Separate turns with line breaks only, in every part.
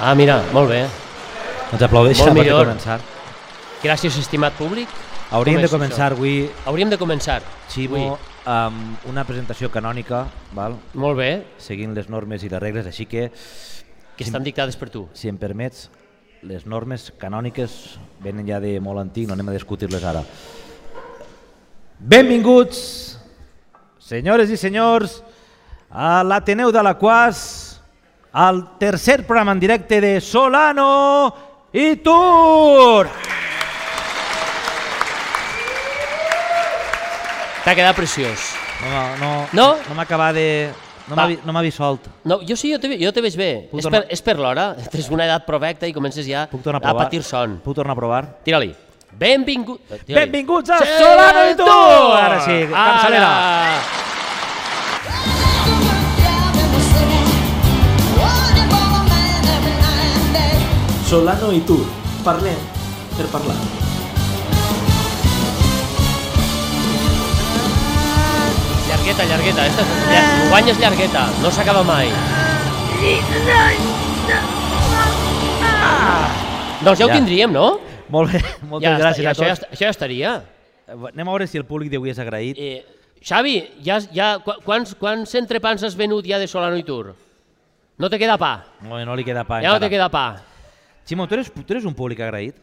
Ah, mira, molt bé.
Ens Doncs aplaudeixen
Molt
abans de
millor.
començar.
Gràcies, estimat públic.
Hauríem
Com
de
és
començar
això?
avui,
Hauríem de començar.
Ximo, amb una presentació canònica, val?
Avui. Molt bé,
seguint les normes i les regles, així que,
que estan dictades per tu.
si em permets, les normes canòniques venen ja de molt antic, no anem a discutir-les ara. Benvinguts, senyores i senyors, a l'Ateneu de la Quas, al tercer programa en directe de Solano i Tur!
T'ha quedat preciós.
No, no,
No?
no m'acaba de... No
Va.
m'ha vi- no m'ha dissolt.
No, jo sí, jo te, ve- jo te veig bé.
Puc
és, per,
tornar-
és per l'hora. Tens una edat provecta i comences ja
Puc tornar a
a
provar?
patir son.
Puc tornar a provar?
Tira-li. Benvingut... tira-li.
Benvinguts a
Sí,
Solano i tu!
tu!
Ara sí, capçalera.
Ara.
Solano i tu, parlem per parlar.
Llargueta, llargueta. Esta, llar, guanyes llargueta, no s'acaba mai. Doncs ja ho
Ja.
tindríem, no?
Molt bé, moltes
ja,
gràcies
ja,
a
això, ja,
tots. Eh,
est- això ja estaria.
Anem a veure si el públic d'avui és agraït.
Eh, Xavi, ja, ja, qu- quants, quants entrepans has venut ja de Solano i Tour? No te queda pa,
No, no li queda pa
ja no te
encara.
queda pa.
Ximo, tu eres, tu eres un públic agraït?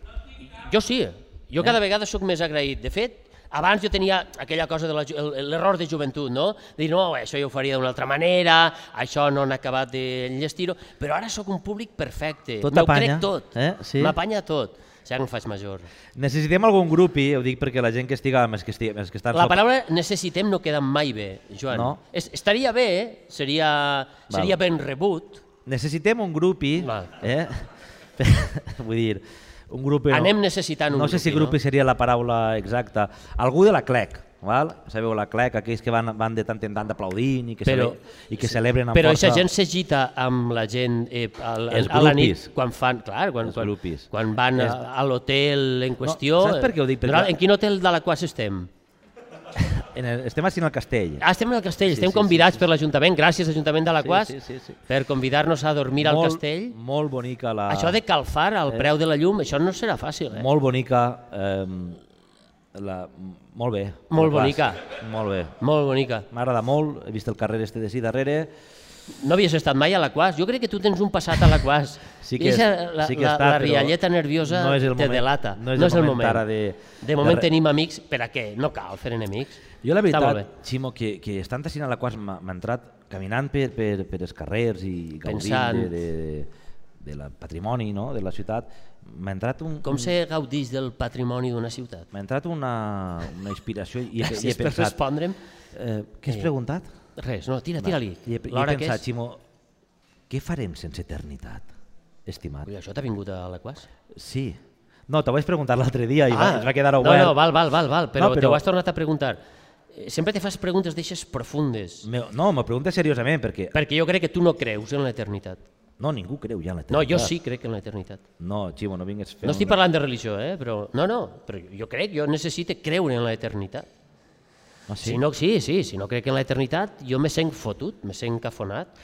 Jo sí, jo cada vegada sóc més agraït. De fet, abans jo tenia aquella cosa de la ju- el- l'error de joventut, no? De dir, no, això jo ho faria d'una altra manera, això no han acabat d'enllestir-ho, però ara sóc un públic perfecte.
Tot
M'ho
t'apanya,
crec tot,
eh? Sí.
m'apanya tot. Ja que em faig major.
Necessitem algun grupi, ho dic perquè la gent que estiga, més que, estigui, més que estan
La
sols-
paraula necessitem no queda mai bé, Joan.
No.
Es, estaria bé, seria, seria ben rebut.
Necessitem un grupi,
Val.
eh? vull dir, un grupi...
Anem
no,
necessitant un
no sé si
grupi,
grupi seria la paraula exacta. Algú de la CLEC, val? Sabeu, la CLEC, aquells que van, van de tant en tant aplaudint i que,
Però-
cele i que celebren amb
Però
força...
aquesta gent s'agita amb la gent eh, a, la-
Els
a la nit
grupis.
quan fan, clar, quan,
Els
quan,
grupis.
quan van a, a l'hotel en qüestió.
saps per què ho dic? Perquè-
Perquè... En quin hotel de la qual estem?
En el, estem així en el castell.
Ah, estem al castell,
Sí,
estem
sí,
convidats per l'Ajuntament, gràcies Ajuntament de la
Sí,
Quas,
sí, sí, sí.
per convidar-nos a dormir al
molt,
castell.
Molt bonica la...
Això de calfar al preu de la llum, això no serà fàcil, eh?
Molt bonica... Eh, la, molt bé.
Molt
clar.
bonica.
Molt bé.
Molt bonica.
M'agrada molt, he vist el carrer este de sí darrere.
No havies estat mai a la Quas? Jo crec que tu tens un passat a la Quas.
Sí
I
que,
eixa-
és-
la,
sí que
la,
està,
la
però
rialleta nerviosa
no és el
te
moment,
delata.
No és, el, moment, ara de...
De moment
re-
tenim amics, per a què? No cal fer enemics.
Jo la
Està molt
veritat,
bé.
Ximo, que, que estant així a la qual m'ha m'ha entrat caminant per, per, per els carrers i gaudint
Pensant.
de, de, de, de la patrimoni no? de la ciutat, m'ha entrat un...
Com se gaudís del patrimoni d'una ciutat?
M'ha entrat una, una inspiració i he, i he
Gràcies per
pensat...
respondre'm.
Eh, què has preguntat?
Res, no, tira, tira-li.
I he, i he
L'hora que
pensat,
és...
Ximo, què farem sense eternitat, estimat?
Ui, això t'ha vingut a la Quas? Ah.
Sí. No, t'ho vaig preguntar l'altre dia i va, ens va quedar
no,
obert.
no, val, val, val, val però, no,
No, però-
però... t'ho has tornat a preguntar. Eh, Sempre te fas preguntes d'eixes profundes,
Me, no, me pregunta seriosament perquè...
perquè jo crec que tu no creus en l'eternitat.
No, ningú creu ja en l'eternitat.
No, jo sí crec en l'eternitat.
No, Ximo, no vingues fent...
No estic
una-
parlant de religió, eh? però no, no, però jo crec, jo necessite creure en l'eternitat.
Ah,
Sí?
sí?
Si no, sí, sí, si no crec en l'eternitat, jo me sent fotut, me sent cafonat.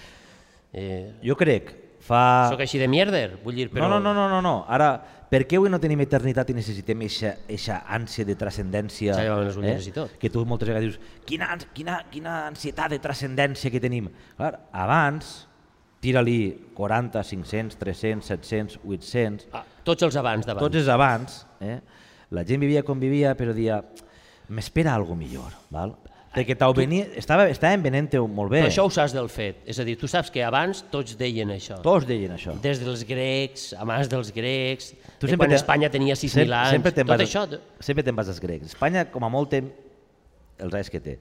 Eh,
Jo crec, fa...
Soc així de mierder, vull dir, però...
Ah. No, no, no, no, no, no. Ara, per què avui no tenim eternitat i necessitem aquesta ànsia de transcendència? Eh?
Ja llevaven les ulleres i tot.
Que tu moltes vegades dius, quina, ans- quina, quina ansietat de transcendència que tenim. Clar, abans, tira-li 40, 500, 300, 700, 800,
Ah, tots els abans d'abans.
tots és abans, eh? la gent vivia com vivia, però dia m'espera algo millor, val? Perquè t'ho venia, estava, estàvem venent-te molt bé.
Però això ho saps del fet, és a dir, tu saps que abans tots deien això.
Tots deien això.
Des dels grecs, abans dels grecs, tu Eh, quan
te-
Espanya tenia 6.000
sem-
anys,
sempre te'n
tot
vas,
això...
Sempre te'n vas als grecs. Espanya, com a molt, té els anys que té.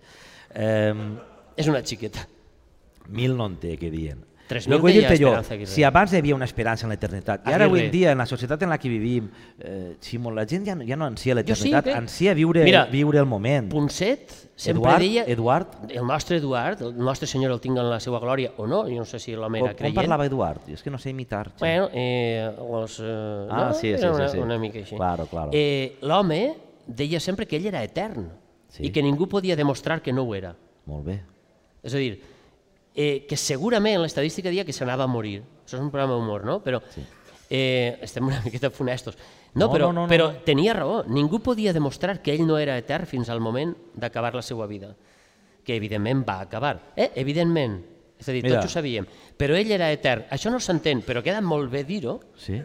Um,
És una xiqueta.
mil no en té, que dient.
3.000
Lo que vull
deia
dir-te jo,
Esperanza Aguirre.
si abans hi havia una esperança en l'eternitat, i ara avui
Aguirre.
en dia, en la societat en la que vivim, eh, Ximo, la gent ja, no- ja no ansia
Jo sí,
l'eternitat,
crec.
ansia viure,
Mira,
viure el moment.
Ponset sempre
Eduard,
deia...
Eduard?
El nostre Eduard, el nostre senyor el tinga en la seva glòria o no, jo no sé si l'home
Com,
era
com
creient.
parlava Eduard? És que no sé imitar. Ximo.
Bueno, eh, els, eh,
Ah,
no?
sí, sí,
Era
sí,
una,
sí.
una mica així.
Claro, claro.
Eh, L'home deia sempre que ell era etern
Sí.
i que ningú podia demostrar que no ho era.
Molt bé.
És a dir, eh, que segurament l'estadística dia que s'anava a morir. Això és un programa d'humor, no? Però eh, estem una miqueta funestos. No,
No,
però,
no, no, no.
però tenia raó. Ningú podia demostrar que ell no era etern fins al moment d'acabar la seva vida. Que evidentment va acabar. Eh? Evidentment. És a dir,
Mira.
tots ho sabíem. Però ell era etern. Això no s'entén, però queda molt bé dir-ho,
Sí.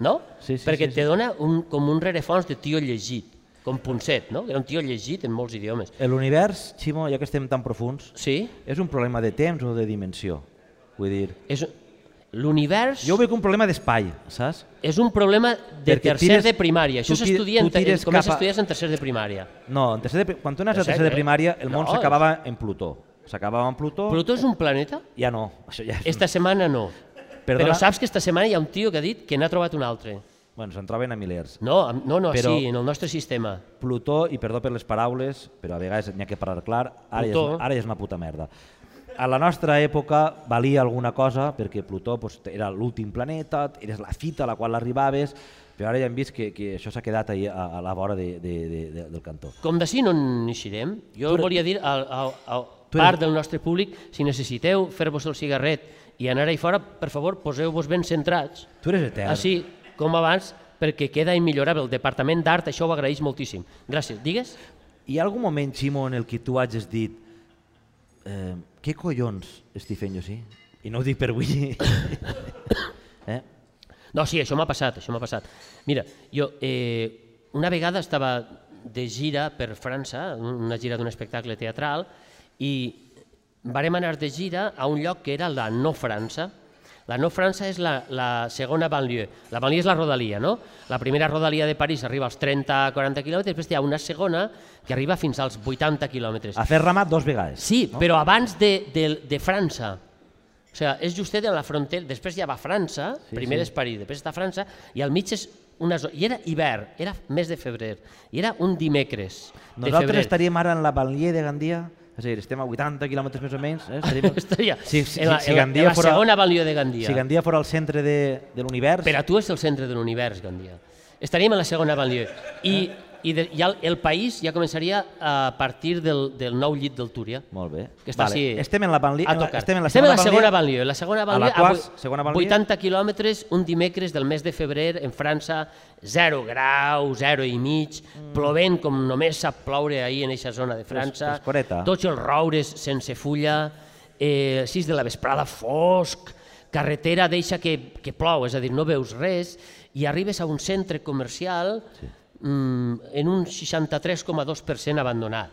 no?
Sí, sí,
Perquè
sí,
te dona un, com un rerefons de tio llegit, com Ponset, no? Que era un tio llegit en molts idiomes.
L'univers, Ximo, ja que estem tan profuns,
Sí?
és un problema de temps o de dimensió? Vull dir,
És... L'univers...
jo ho veig un problema d'espai, saps?
És un problema de
Perquè
tercer
tires-
de primària. Això
tu ti-
s'estudia en,
tu tires
comença
cap
a
a-
estudiar en tercer de primària.
No, en tercer de, pri- quan tu anaves a
Tercer,
tercer de
eh?
primària, el món
No,
s'acabava en Plutó. S'acabava en Plutó,
Plutó és un planeta?
ja no. Això ja és...
Esta setmana no.
Perdona.
Però saps que esta setmana hi ha un tio que ha dit que n'ha trobat un altre.
Bueno, se'n troben a milers.
No, am- no, no,
Però-
així, en el nostre sistema.
Plutó, i perdó per les paraules, però a vegades n'hi ha que parar clar, ara, ja és,
Plutó.
una- ara ja és una puta merda. A la nostra època valia alguna cosa perquè Plutó doncs, era l'últim planeta, eres la fita a la qual arribaves, però ara ja hem vist que, que això s'ha quedat ahí a, a la vora de, de, de, de, del cantó.
Com d'ací no n'eixirem, jo volia dir a, a, a
tu
part
eres-
del nostre públic, si necessiteu fer-vos el cigarret i anar ahí fora, per favor, poseu-vos ben centrats.
Tu eres etern.
Així, com abans, perquè queda immillorable. El Departament d'Art això ho agraeix moltíssim. Gràcies. Digues?
Hi ha algun moment, Ximo, en el que tu hagis dit eh, què collons estic fent jo, sí? I no ho dic per Willy. eh?
No, sí, això m'ha passat, això m'ha passat. Mira, jo eh, una vegada estava de gira per França, una gira d'un espectacle teatral, i vàrem anar de gira a un lloc que era la no França. La no França és la, la segona banlieue. La banlieue és la rodalia, no? La primera rodalia de París arriba als 30-40 quilòmetres, després hi ha una segona que arriba fins als 80 quilòmetres.
A fer ramat dos vegades.
Sí, no? però abans de, de, de França. O sigui, és justet en la frontera, després ja va a França, sí, primer sí. és París, després està França, i al mig és una zona... I era hivern, era mes de febrer, i era un dimecres de
Nosaltres
febrer.
estaríem ara en la Banlieue de Gandia, és a dir, estem a 80 quilòmetres més o menys. Eh? Estaríem...
Estaria
Si, si,
en la,
si,
en la, en
Gandia
la
fora,
segona valió de Gandia.
si Gandia fora el centre de, de l'univers...
Per a tu és el centre de l'univers, Gandia. Estaríem a la segona banlieue. I, i, de, i el, el país ja començaria a partir del, del nou llit del Túria.
Molt bé.
que està
vale.
així,
Estem en la Banlieue...
a tocar.
Estem en la
estem a
segona,
la segona
Banlieue.
banlieue. La segona
A la
banlieue,
quart-
vuit-
segona banlieue.
80 quilòmetres, un dimecres del mes de febrer, en França, 0 graus, 0 i mig,
Mm.
plovent com només sap ploure ahir en aquesta zona de França,
frescoreta.
tots els roures sense fulla, eh, 6 de la vesprada fosc, carretera deixa que, que plou, és a dir, no veus res, i arribes a un centre comercial sí. mm, en un 63,2% abandonat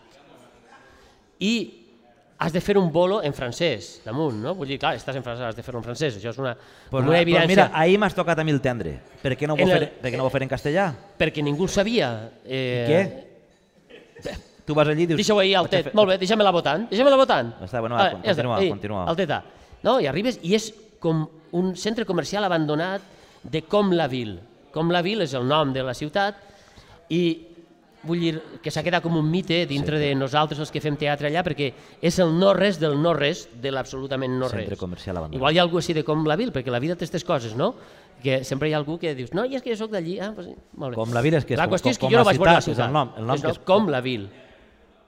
i has de fer un bolo en francès, damunt, no? Vull dir, clar, estàs en francès, has de fer un francès, això és una,
Pues,
com una evidència,
Pues mira, ahir m'has tocat a mi el tendre. Per què no ho,
En
el...
el-
fer, per què no ho fer en castellà?
perquè ningú ho sabia. Eh,
Què? Tu vas allí i dius...
Deixa-ho ahir al
"Vaig a
TET,
fer-
molt bé, deixa-me-la votant, deixa-me-la votant.
Està, bueno, va,
Ah, ja està.
continua,
Eh,
continua.
Al TET, no? I arribes i és com un centre comercial abandonat de Com la Vil. Com la Vil és el nom de la ciutat i vull dir que s'ha quedat com un mite dintre sí. de nosaltres els que fem teatre allà perquè és el no-res del no-res de l'absolutament no-res.
Centre comercial abandonat.
Igual hi ha algú així de Com la Vil, perquè la vida té aquestes coses, no? que sempre hi ha algú que dius, no, i és que jo sóc d'allí, ah, pues, sí, molt bé.
Com la Vil és que és
la
com-
qüestió és
com
que jo
la
no vaig veure la
ciutat, és el
ciutat.
nom, el nom
és
que és-
Com la Vil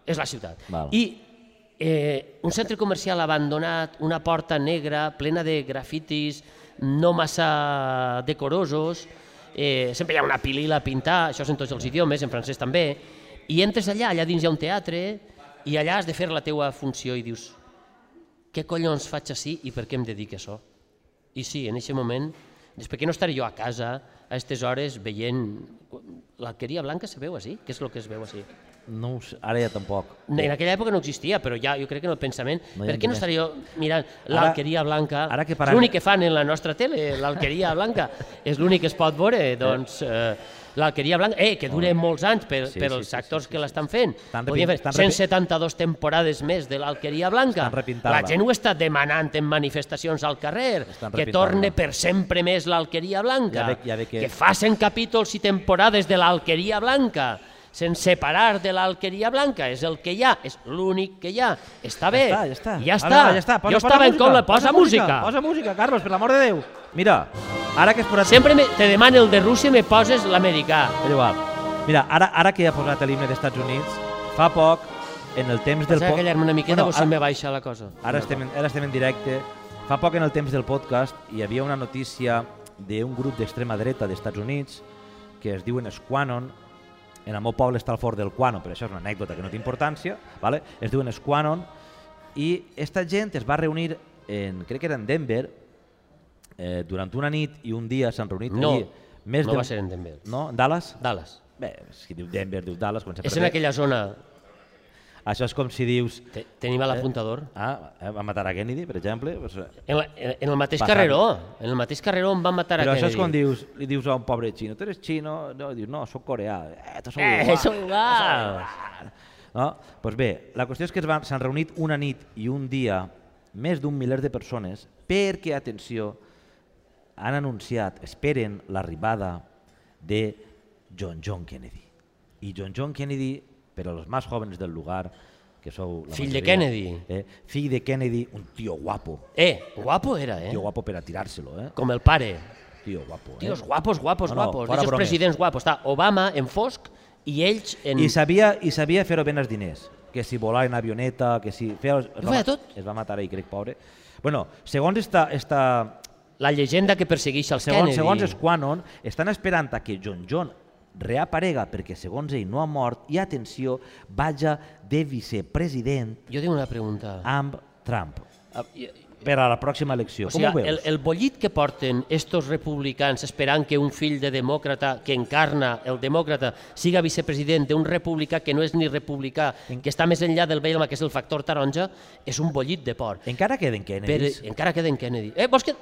és la ciutat.
Val.
I eh, un centre comercial abandonat, una porta negra plena de grafitis no massa decorosos, eh, sempre hi ha una pilila a pintar, això és en tots els idiomes, en francès també, i entres allà, allà dins hi ha un teatre, i allà has de fer la teua funció i dius què collons faig així i per què em dedic a això? I sí, en aquest moment, doncs per què no estaré jo a casa a aquestes hores veient... L'alqueria blanca se veu així? Què és el que es veu així?
No ho sé, ara ja tampoc.
En aquella època no existia, però ja jo crec que en el pensament...
No hi ha
per què no
diners.
estaré jo mirant l'alqueria blanca?
ara que
És
paran-
l'únic que fan en la nostra tele, l'alqueria blanca. és l'únic que es pot veure, doncs... Eh, L'alqueria blanca, eh, que dura molts anys per,
Sí,
per
sí,
als
sí,
actors que l'estan fent.
Estan
Podien
repin- estan
fer 172 temporades més de l'alqueria blanca.
Estan repintant-la.
La gent ho està demanant en manifestacions al carrer,
Estan
que
repintant-la.
torne per sempre més l'alqueria blanca,
Ja ve- ja ve que-
que facin capítols i temporades de l'alqueria blanca, sense separar de l'alqueria blanca, és el que hi ha, és l'únic que hi ha. Està bé,
Ja està, ja està.
ja
Ara,
està.
ja està. Posa,
jo
posa
estava en
música,
cola, posa, música.
Posa música, Carlos, per l'amor de Déu. Mira, ara que has posat...
Sempre me, te demano el de Rússia i me poses l'americà.
És igual. Mira, ara, ara que ja ha posat l'himne dels Estats Units, fa poc en el temps del...
Pensava
po-
que callar-me una miqueta o
ara-
si em ve baixa la cosa.
Ara estem, en, ara estem en directe. Fa poc en el temps del podcast hi havia una notícia d'un grup d'extrema dreta d'Estats Units que es diuen Squanon, en el meu poble està el fort del Quano, però això és una anècdota que no té importància, vale? es diuen Squanon, i esta gent es va reunir, en, crec que era en Denver, eh, durant una nit i un dia s'han reunit
No,
allí. Més
no
de...
va ser en Denver.
No? En Dallas?
Dallas.
Bé, si diu Denver, diu Dallas, quan se
És
perd
en
bé.
aquella zona.
Això és com si dius...
Te- Tenim a l'apuntador.
Ah, eh, va matar a Kennedy, per exemple. Pues, eh,
En, la, en en el mateix
Passant.
carreró, en el mateix carreró on van matar a
Però això és
Kennedy.
quan dius, li dius a un pobre xino, tu eres xino? No, dius, no, sóc coreà. Eh, tu sou
Eh,
igual.
sou iguals.
No? Pues bé, la qüestió és que es van- s'han reunit una nit i un dia més d'un miler de persones perquè, atenció, han anunciat, esperen l'arribada de John John Kennedy. I John John Kennedy, per als més jóvens del lugar, que sou la
Fill de
majoria,
Kennedy.
Eh, fill de Kennedy, un tio guapo.
Eh, guapo era, eh?
Tio guapo per a tirar-se-lo, eh?
Com el pare.
Tio guapo, eh?
Tios guapos, guapos,
No, no,
guapos.
fora
D'aixòs
bromes.
presidents guapos. Està Obama en fosc i ells en...
I sabia, i sabia fer-ho ben els diners. Que si volar en avioneta, que si... Feia, es,
feia
ma-
tot?
Es va matar ahir, crec, pobre. Bueno, segons esta, esta,
La llegenda que persegueix els
segons,
Kennedy.
segons Squanon, estan esperant a que John John reaparega perquè segons ell no ha mort i, atenció, vaja de vicepresident
Jo tinc una pregunta.
amb Trump
Ah, i-
per a la pròxima elecció.
O sigui,
Com ho
el,
veus?
el bollit que porten estos republicans esperant que un fill de demòcrata que encarna el demòcrata siga vicepresident d'un republicà que no és ni republicà, que està més enllà del Belma, que és el factor taronja, és un bollit de porc.
Encara queden
Però
Kennedys?
encara queda en Kennedy. Eh, vols que...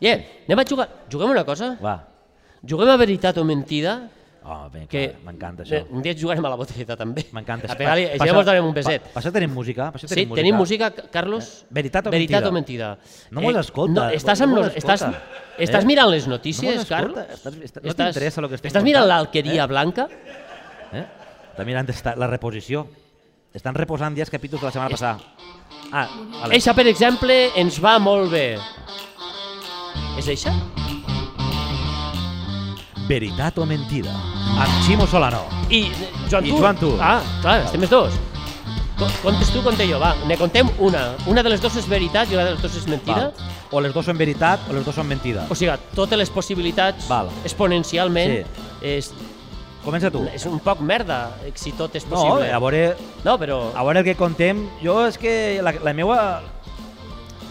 Yeah, anem a jugar... Juguem una cosa?
Va.
Juguem a veritat o mentida?
Oh, bé,
Que...
clar, m'encanta això.
Eh, Un dia jugarem a la botelleta també.
M'encanta
A
això.
pegar-li,
Pa-
així ja
passa-
mos donem un
pa-
beset.
Pa, això tenim música? Pa, això
sí, tenim música, Ca- Carlos?
Eh, veritat o
veritat
mentida?
o mentida? Eh,
No mos escolta,
No, estàs,
no
amb
mos
nos, estàs,
escolta.
estàs
Eh?
mirant les notícies,
No mos escolta,
Carlos?
estàs- estàs- no t'interessa lo que estem
Estàs mirant
contant,
l'alqueria blanca?
Eh? Està mirant esta, la reposició. Estan reposant ja els capítols de la setmana passada. Ah, vale.
Eixa, per exemple, ens va molt bé. És eixa?
Veritat o mentida? Amb Ximo Solano.
I eh, Joan
I
Tu.
Joan Tu.
Ah, clar, estem els dos. Co- Contes tu, conte jo, va. Ne contem una. Una de les dues és veritat i una de les dues és mentida.
Val. O les dues són veritat o les dues són mentida.
O sigui, totes les possibilitats
Val.
exponencialment
Sí.
és,
Comença tu.
és un poc merda, eh, si tot és
No, Ah.
possible.
a veure,
No, però
a veure el que contem. Jo és que la, la meva...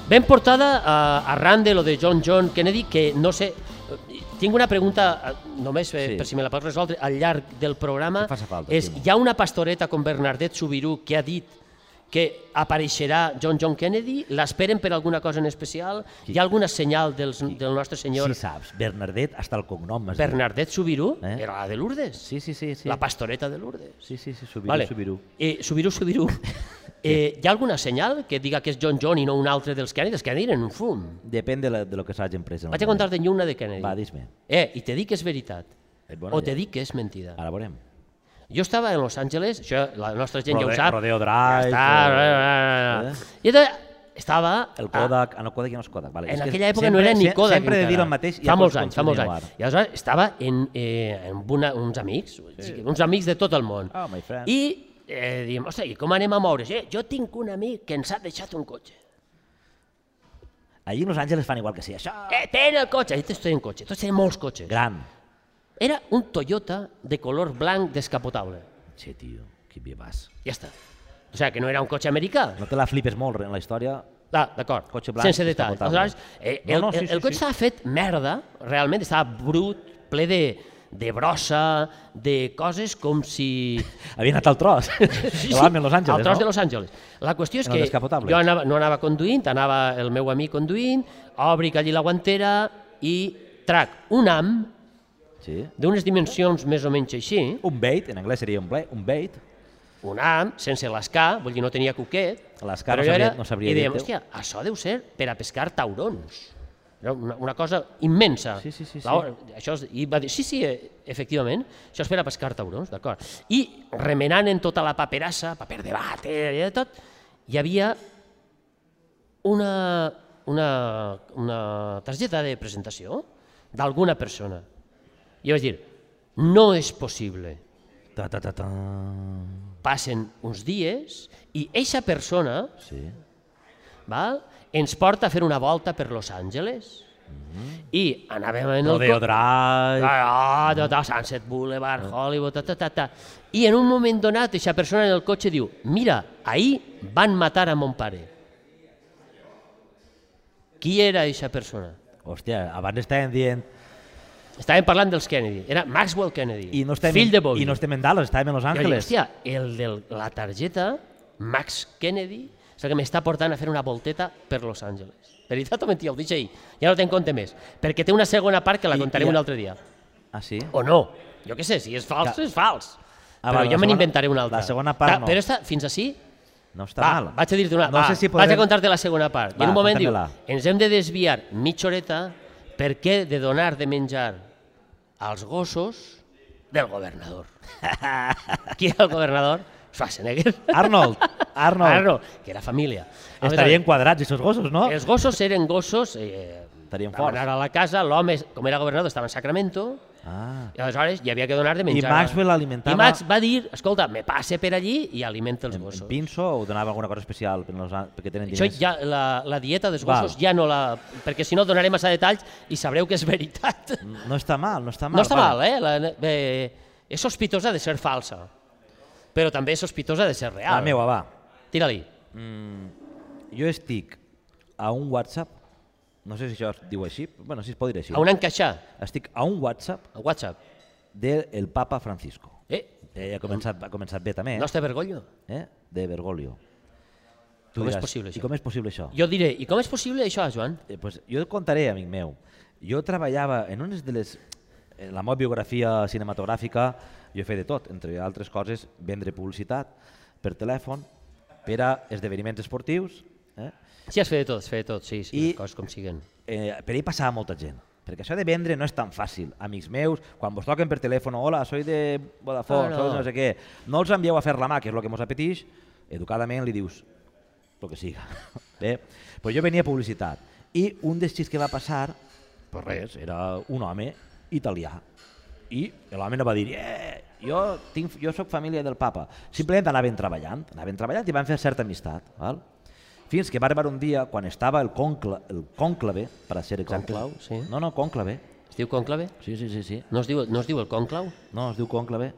ben portada eh, arran de lo de John John Kennedy, que no sé... eh, Tinc una pregunta, eh, només eh,
Sí.
per si me la pots resoldre, al llarg del programa.
No faci falta,
és,
Timo.
hi ha una pastoreta com Bernardet Subirú que ha dit que apareixerà John John Kennedy? L'esperen per alguna cosa en especial? Hi ha algun senyal dels, del nostre senyor
Si saps, Bernardet, hasta el cognom. es diu.
Bernardet Subirú?
Eh?
Era la de Lourdes?
Sí, sí, sí. sí.
La pastoreta de Lourdes.
Sí, sí, sí, Subiru,
Vale.
Subiru.
Eh, Subiru, Subiru. Eh, hi ha alguna senyal que diga que és John John i no un altre dels Kennedy? Els Kennedy eren un fum.
Depèn de, la, de lo que s'hagin pres. en el
Vaig a
moment.
contar-te una de Kennedy.
Va, dis-me.
Eh, i te dic que és veritat.
Eh, Ah.
Bueno,
bueno,
o te
ja.
dic que és mentida.
Ara veurem.
Jo estava a Los Angeles, això la nostra gent ja
Rode-
ho sap.
Rodeo
Ja
Drive,
està,
o-
ra, ra, ra.
Eh?
I llavors estava...
El
a-
Kodak, ah. no, Kodak ja no és Kodak. Vale. és
En
que
aquella època
sempre-
no era ni
se-
Kodak
Sempre he de dir
encara.
el mateix. i
Fa
ja
molts
pots
anys, fa molts
continuar.
anys. I aleshores estava en, eh, amb una, uns amics, sí. uns amics de tot el món.
Oh, my friend.
I eh, diem, ostres, i com anem a moure's? Eh, jo tinc un amic que ens ha deixat un cotxe.
Allí a Los Angeles fan igual que sí. Això...
Eh, ten el cotxe! I tots tenen cotxe, tots tenen molts cotxes.
Gran.
Era un Toyota de color blanc descapotable.
Che, tio, que bé vas.
Ja està. O sigui, que no era un cotxe americà.
No te la flipes molt en la història.
Ah, d'acord,
Cotxe blanc,
sense detalls.
descapotable.
Aleshores, eh, el,
No, no, sí,
el,
sí,
el cotxe
sí.
estava fet merda, realment, estava brut, ple de, de brossa, de coses com si...
Havia anat al tros. Sí, sí. Los Angeles,
al tros
no?
de Los Angeles. La qüestió és
En el
que
descapotable.
jo anava, no anava conduint, anava el meu amic conduint, òbric allí la guantera i trac un am
Sí.
d'unes dimensions més o menys així,
Un bait, en anglès seria un, ble, un bait.
un am sense l'escà, vull dir, no tenia coquet,
L'escà
però
no
jo
sabria-
era-
no sabria
i dèiem,
dir-te-ho.
hòstia, això deu ser per a pescar taurons. Era una, una cosa immensa.
Sí, sí, sí, sí.
La- Això és, I va dir, sí, sí, eh, efectivament, això és per a pescar taurons, d'acord. I remenant en tota la paperassa, paper de vàter i de tot, hi havia una, una, una targeta de presentació d'alguna persona. I jo vaig dir, no és possible.
Ta, ta, ta, ta.
Passen uns dies i eixa persona
Sí.
val, ens porta a fer una volta per Los Angeles i anàvem en el...
Rodeo
co-
Drive.
Ah, tot, tot, Sunset Boulevard, Hollywood, ta, ta, ta, ta. I en un moment donat, aquesta persona en el cotxe diu «Mira, ahir van matar a mon pare». Qui era aquesta persona?
Hòstia, abans estàvem dient...
Estàvem parlant dels Kennedy. Era Maxwell Kennedy,
I no estem,
fill de Bowie.
I no estem en Dallas, estàvem en Los
Jo dic,
Angeles.
hòstia, el de la targeta, Max Kennedy, és el que m'està portant a fer una volteta per Los Angeles. Veritat o mentida, ho dic ahir, ja no te'n compte més, perquè té una segona part que la
I-
contaré
i-
un altre dia.
Ah, sí?
O no, jo què sé, si és fals,
Clar.
és fals.
Ah,
però
val, la
jo me
segona-
n'inventaré una altra.
la segona part
Ta-
no.
Però està, fins així,
No està
va,
mal.
vaig a dir-te una...
No
va,
sé si
Vaig a
podrem-
contar-te la segona part. I
Va,
en un moment diu,
conta-me-la.
ens hem de desviar mitja horeta perquè de donar de menjar als gossos del governador. Qui era el governador? Schwarzenegger.
Arnold, Arnold.
Arno, que era família. A veure, eh,
Estarien quadrats, aquests gossos, no?
Els gossos eren gossos... Eh,
Estarien
van
forts.
anar a la casa, l'home, com era governador, estava en Sacramento,
Ah.
i aleshores hi havia que donar de menjar.
Maxwell alimentava-
I Max va dir, escolta, me passe per allí i alimenta els
En, en
gossos.
pinso o donava alguna cosa especial per los, an- perquè tenen
Això
diners?
ja, la, la dieta dels
Val.
gossos ja no la... Perquè si no donaré massa detalls i sabreu que és veritat.
No està mal, no està mal.
No està mal,
vale.
eh? La, eh? És sospitosa de ser falsa, però també és sospitosa de ser real.
La meva, Ah, va.
Tira-li.
Jo estic a un WhatsApp, no sé si això es diu així, però, bueno, sí es pot dir així.
A on encaixar?
Estic a un WhatsApp
A WhatsApp.
del Papa Francisco.
Eh?
Eh, ha, començat, ha començat bé també,
No
eh?
està vergonya?
eh? De Bergoglio. Tu
Com és
diràs,
possible, això?"
I com és possible això?
Jo diré, i com és possible això, Joan?
Eh, pues, jo et contaré, amic meu. Jo treballava en unes de les... En la meva biografia cinematogràfica jo he fet de tot, entre altres coses, vendre publicitat per telèfon, per a esdeveniments esportius, eh?
Sí, has fet de tot, has fet de tot, sí, sí,
I-
les coses com siguen.
eh, per ahir passava molta gent. Perquè això de vendre no és tan fàcil. Amics meus, quan vos toquen per telèfon, hola, soy de Vodafone,
Ah, no.
no. soy de no sé què, no els envieu a fer la mà, que és el que mos apeteix, educadament li dius el que siga. Bé, pues jo venia a publicitat i un dels xics que va passar, pues res, era un home italià. I l'home no va dir, eh, jo, tinc, jo sóc família del papa. Simplement anaven treballant, anaven treballant i van fer certa amistat. Val? Fins que va arribar un dia, quan estava el, concla, el conclave, per a ser exacte,
Conclau, sí.
no, no, conclave,
Es diu conclave?
sí, sí, sí, sí,
No es diu, no es diu el conclau?
no, es diu conclave,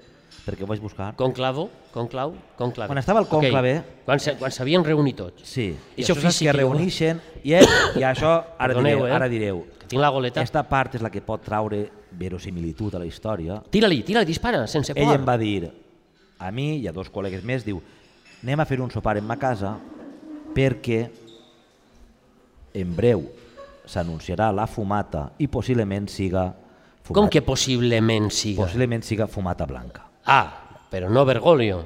perquè ho vaig buscar.
Conclavo? Conclau? Conclave.
Quan estava el
Ok,
conclave-
Quan se- quan s'havien reunit tots.
Sí,
I
i
això
això és
físic,
que
eh?
reuneixen i, és, i això ara
Perdoneu,
direu,
eh?
ara direu.
Que tinc la goleta.
Aquesta part és la que pot traure verosimilitud a la història.
Tira-li, tira-li, dispara, sense por.
Ell em va dir, a mi i a dos col·legues més, diu, anem a fer un sopar en ma casa perquè en breu s'anunciarà la fumata i possiblement siga fumata,
Com que possiblement siga?
possiblement siga fumata blanca.
Ah, però no Bergoglio.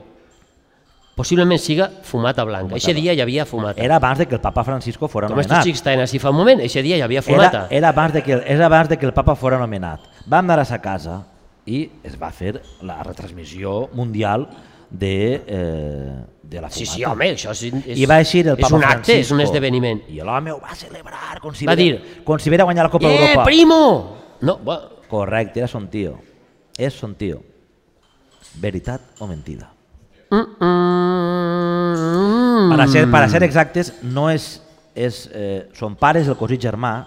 Possiblement siga fumata blanca. Eixe
Fumata
dia hi havia fumata.
Era abans de que el papa Francisco fora
Com
nomenat.
estos xics estaven així fa un moment, eixe dia hi havia fumata.
Era, era, abans de que, el- era abans de que el papa fora nomenat. Vam anar a sa casa i es va fer la retransmissió mundial de, eh, de la fumata.
Sí, sí, home, això és, és,
I va eixir el papa
és un acte,
Francisco.
és un esdeveniment.
I l'home ho va celebrar, com si
Va
ve-
dir,
com si vera guanyar la Copa
eh,
d'Europa.
primo! No, bueno,
Correcte, era son tio. És son tio. Veritat o mentida?
Mm,
Para ser, para ser exactes, no és... és eh, son pare és el cosí germà.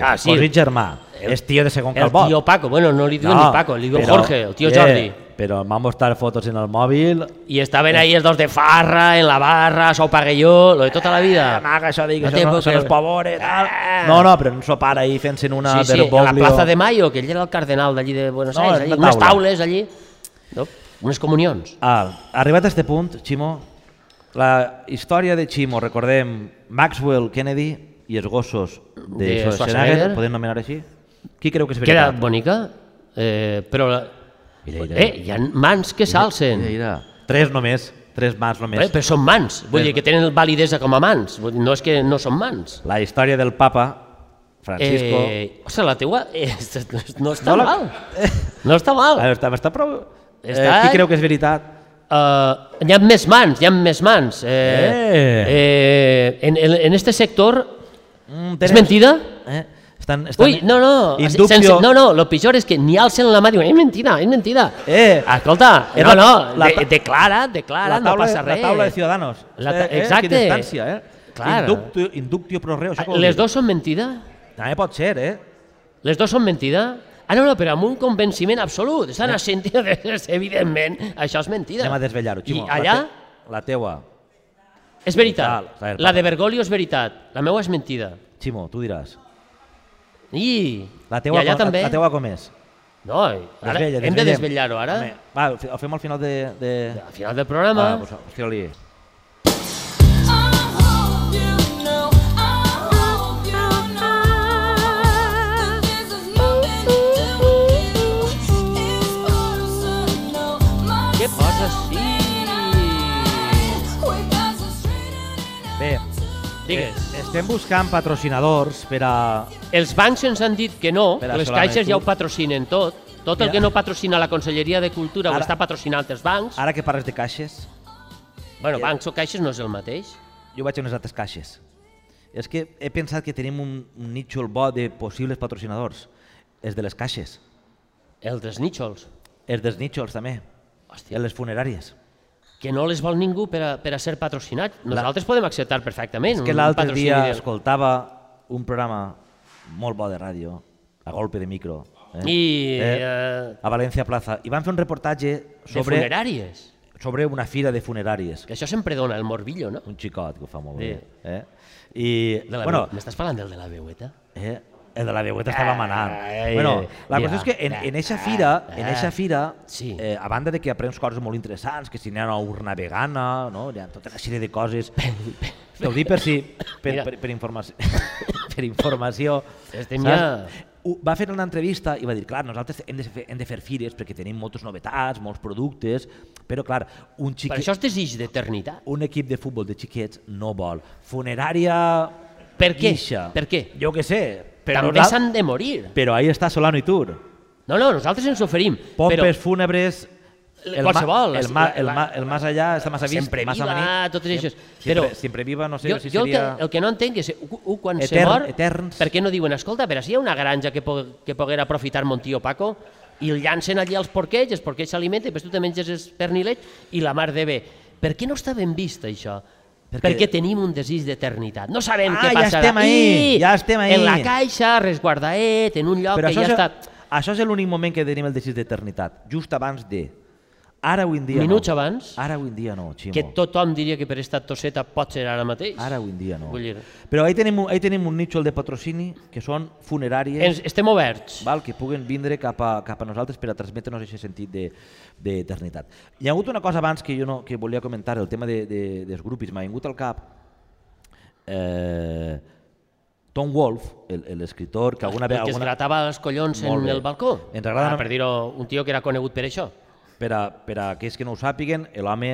Ah, sí.
Cosí germà. és tio de segon
el
calbot.
tio Paco, bueno, no li diu ni Paco, li diu
però-
Jorge, el tio
eh,
Jordi.
Però em van mostrar fotos en el mòbil.
I estaven ahí els dos de farra, en la barra, sou paguelló, lo de tota la vida.
Eh, maca, això dic,
No
no
té
això no,
por
això
que-
no és pobore, tal.
Ah.
No, no, però en so pare ahir fent-se'n una
sí, sí, a la
vergoglio.
plaza de Mayo, que ell era el cardenal d'allí de Buenos
No,
Aires,
en
allí,
la
unes
taula.
taules allí, no? unes comunions.
Ah, arribat a este punt, Ximo, la història de Ximo, recordem Maxwell Kennedy i els gossos de,
De Schwarzenegger.
Schwarzenegger, podem nomenar així? Qui creu que és
Queda
veritat?
bonica, eh, però... la-
Mira, mira.
Eh, hi ha mans que s'alcen.
Mira, mira. Tres només, tres mans
Però,
només.
però són mans, vull dir que tenen validesa com a mans, vull dir, no és que no són mans.
La història del papa, Francisco...
Eh, ostres, la teua eh, no està
No la-
mal. No està mal.
Ah, està, està prou...
Està-
Eh, qui creu que és veritat?
Uh, hi ha més mans, hi ha més mans. Eh,
Eh.
eh, en, en, en este sector...
Mm,
És
tenen-
mentida?
Eh? Estan, estan
Ui, no, no,
Indubio...
sense, no, no, el pitjor és que ni alcen la mà i diuen, és mentida, és mentida.
Eh,
Escolta,
eh,
no,
la-
no,
la
de,
ta-
declara, declara,
la taula,
no passa
la
res.
taula de Ciudadanos.
La ta-
Eh, eh,
exacte.
Quina instància, eh?
Clar.
Inductio, inductio pro reo. Això
Ah,
com ho
Les
diu?
dues són mentida?
També pot ser, eh?
Les dues són mentida? Ah, no, no, però amb un convenciment absolut. Estan assentint, evidentment, això és mentida.
Anem a desvetllar-ho, Ximo.
I allà,
La, te la teua.
és veritat.
Tal, tal,
La de Bergoglio és veritat, la meua és mentida.
Ximo, tu diràs.
I,
La teua,
I allà
com,
també.
la teua com és?
No, ara
Desvella,
hem de
desvellem.
desvetllar-ho ara.
Home, Va, ho fe- ho fem al final de... de...
Al final del programa.
Va, pues, hòstia,
Què passa així?
Bé,
Digues.
eh, estem buscant patrocinadors per a...
Els bancs ens han dit que no,
Espera,
que les
Solana,
caixes
tu-
ja ho patrocinen tot. Tot el
Mira.
que no patrocina la Conselleria de Cultura ho
Ara- Ah,
està patrocinant els bancs.
Ara que parles de caixes, eh.
Bueno, bancs o caixes no és el mateix.
jo vaig a unes altres caixes. És que he pensat que tenim un, un nítxol bo de possibles patrocinadors. És de les caixes.
Els dels níxols,
És dels nítxols, també.
Hòstia.
Hòstia. les funeràries.
que no les vol ningú per a, per a ser patrocinat. Nosaltres podem acceptar perfectament
És que
un
l'altre
patrocini
dia
de-
escoltava un programa molt bo de ràdio, a golpe de micro, eh?
I, eh,
a València Plaza, i van fer un reportatge
de
sobre,
funeràries.
sobre una fira de funeràries.
Que això sempre dona el morbillo, no?
Un xicot que ho fa molt
Sí.
bé. Eh? I,
De la
bueno,
veu- M'estàs parlant del de la veueta?
eh? el de la veueta estava manant.
Ai,
bueno, la
ja,
qüestió és que en, en eixa
ah,
fira, en
ah.
eixa fira
Sí.
eh, a banda de que aprens coses molt interessants, que si n'hi ha una urna vegana, no? hi ha tota una sèrie de coses... T'ho dic per si, per,
Mira.
per, per, informació, per informació.
Estem
saps?
ja-
Ho- Va fer una entrevista i va dir, clar, nosaltres hem de, fer, hem de fer fires perquè tenim moltes novetats, molts productes, però clar, un
Per
xiquet,
això és desig d'eternitat.
un equip de futbol de xiquets no vol. Funerària...
Per què?
Guixa.
Per què?
Jo què sé. Però,
També s'han de morir.
però ahí està Solano i Tur.
No, no, nosaltres ens oferim.
Pompes
però...
fúnebres...
L-
ma-
qualsevol,
El,
la-
ma, el,
la-
ma, el más allá està massa vist.
Sempre
massa
viva,
amanit.
totes
Siem-
aquestes.
Sempre,
Però-
sempre viva, no sé
jo,
si
jo
seria...
el, que, el que no entenc és u, u quan se
Etern-
mor,
eterns.
per què no diuen, escolta, però si hi ha una granja que, po que poguera aprofitar mon tio Paco, i el llancen allí als porquets, els porquets s'alimenten, però tu te menges els pernilets i la mar de bé. Per què no està ben vist això? Perquè,
Perquè-
Perquè tenim un desig d'eternitat. No sabem
Ah,
què
ja
passarà.
estem ahí,
I
ja estem ahí.
En la caixa, resguardaet, en un lloc
Però
que
això,
ja
és-
està...
això és l'únic moment que tenim el desig d'eternitat, just abans de... Ara avui en dia
Minuts
no.
abans.
Ara avui en dia no, Ximo.
que tothom diria que per esta tosseta pot ser ara mateix.
Ara avui en dia no.
Vull dir-
Però ahí tenim, un- ahí tenim un nítxol de patrocini que són funeràries...
Ens, estem oberts.
val? que puguen vindre cap a, cap a nosaltres per a transmetre-nos aquest sentit de- d'eternitat. De, Hi ha hagut una cosa abans que jo no, que volia comentar, el tema de, de, dels grupis, m'ha vingut al cap. Eh, Tom Wolfe, l'escriptor, que alguna
El
vegada...
Ah, que es
Alguna,
gratava els collons
Molt
en
bé.
el balcó.
Ens agrada-
Ah, per dir-ho, un tio que era conegut per això.
per, a, per a aquells que no ho sàpiguen, l'home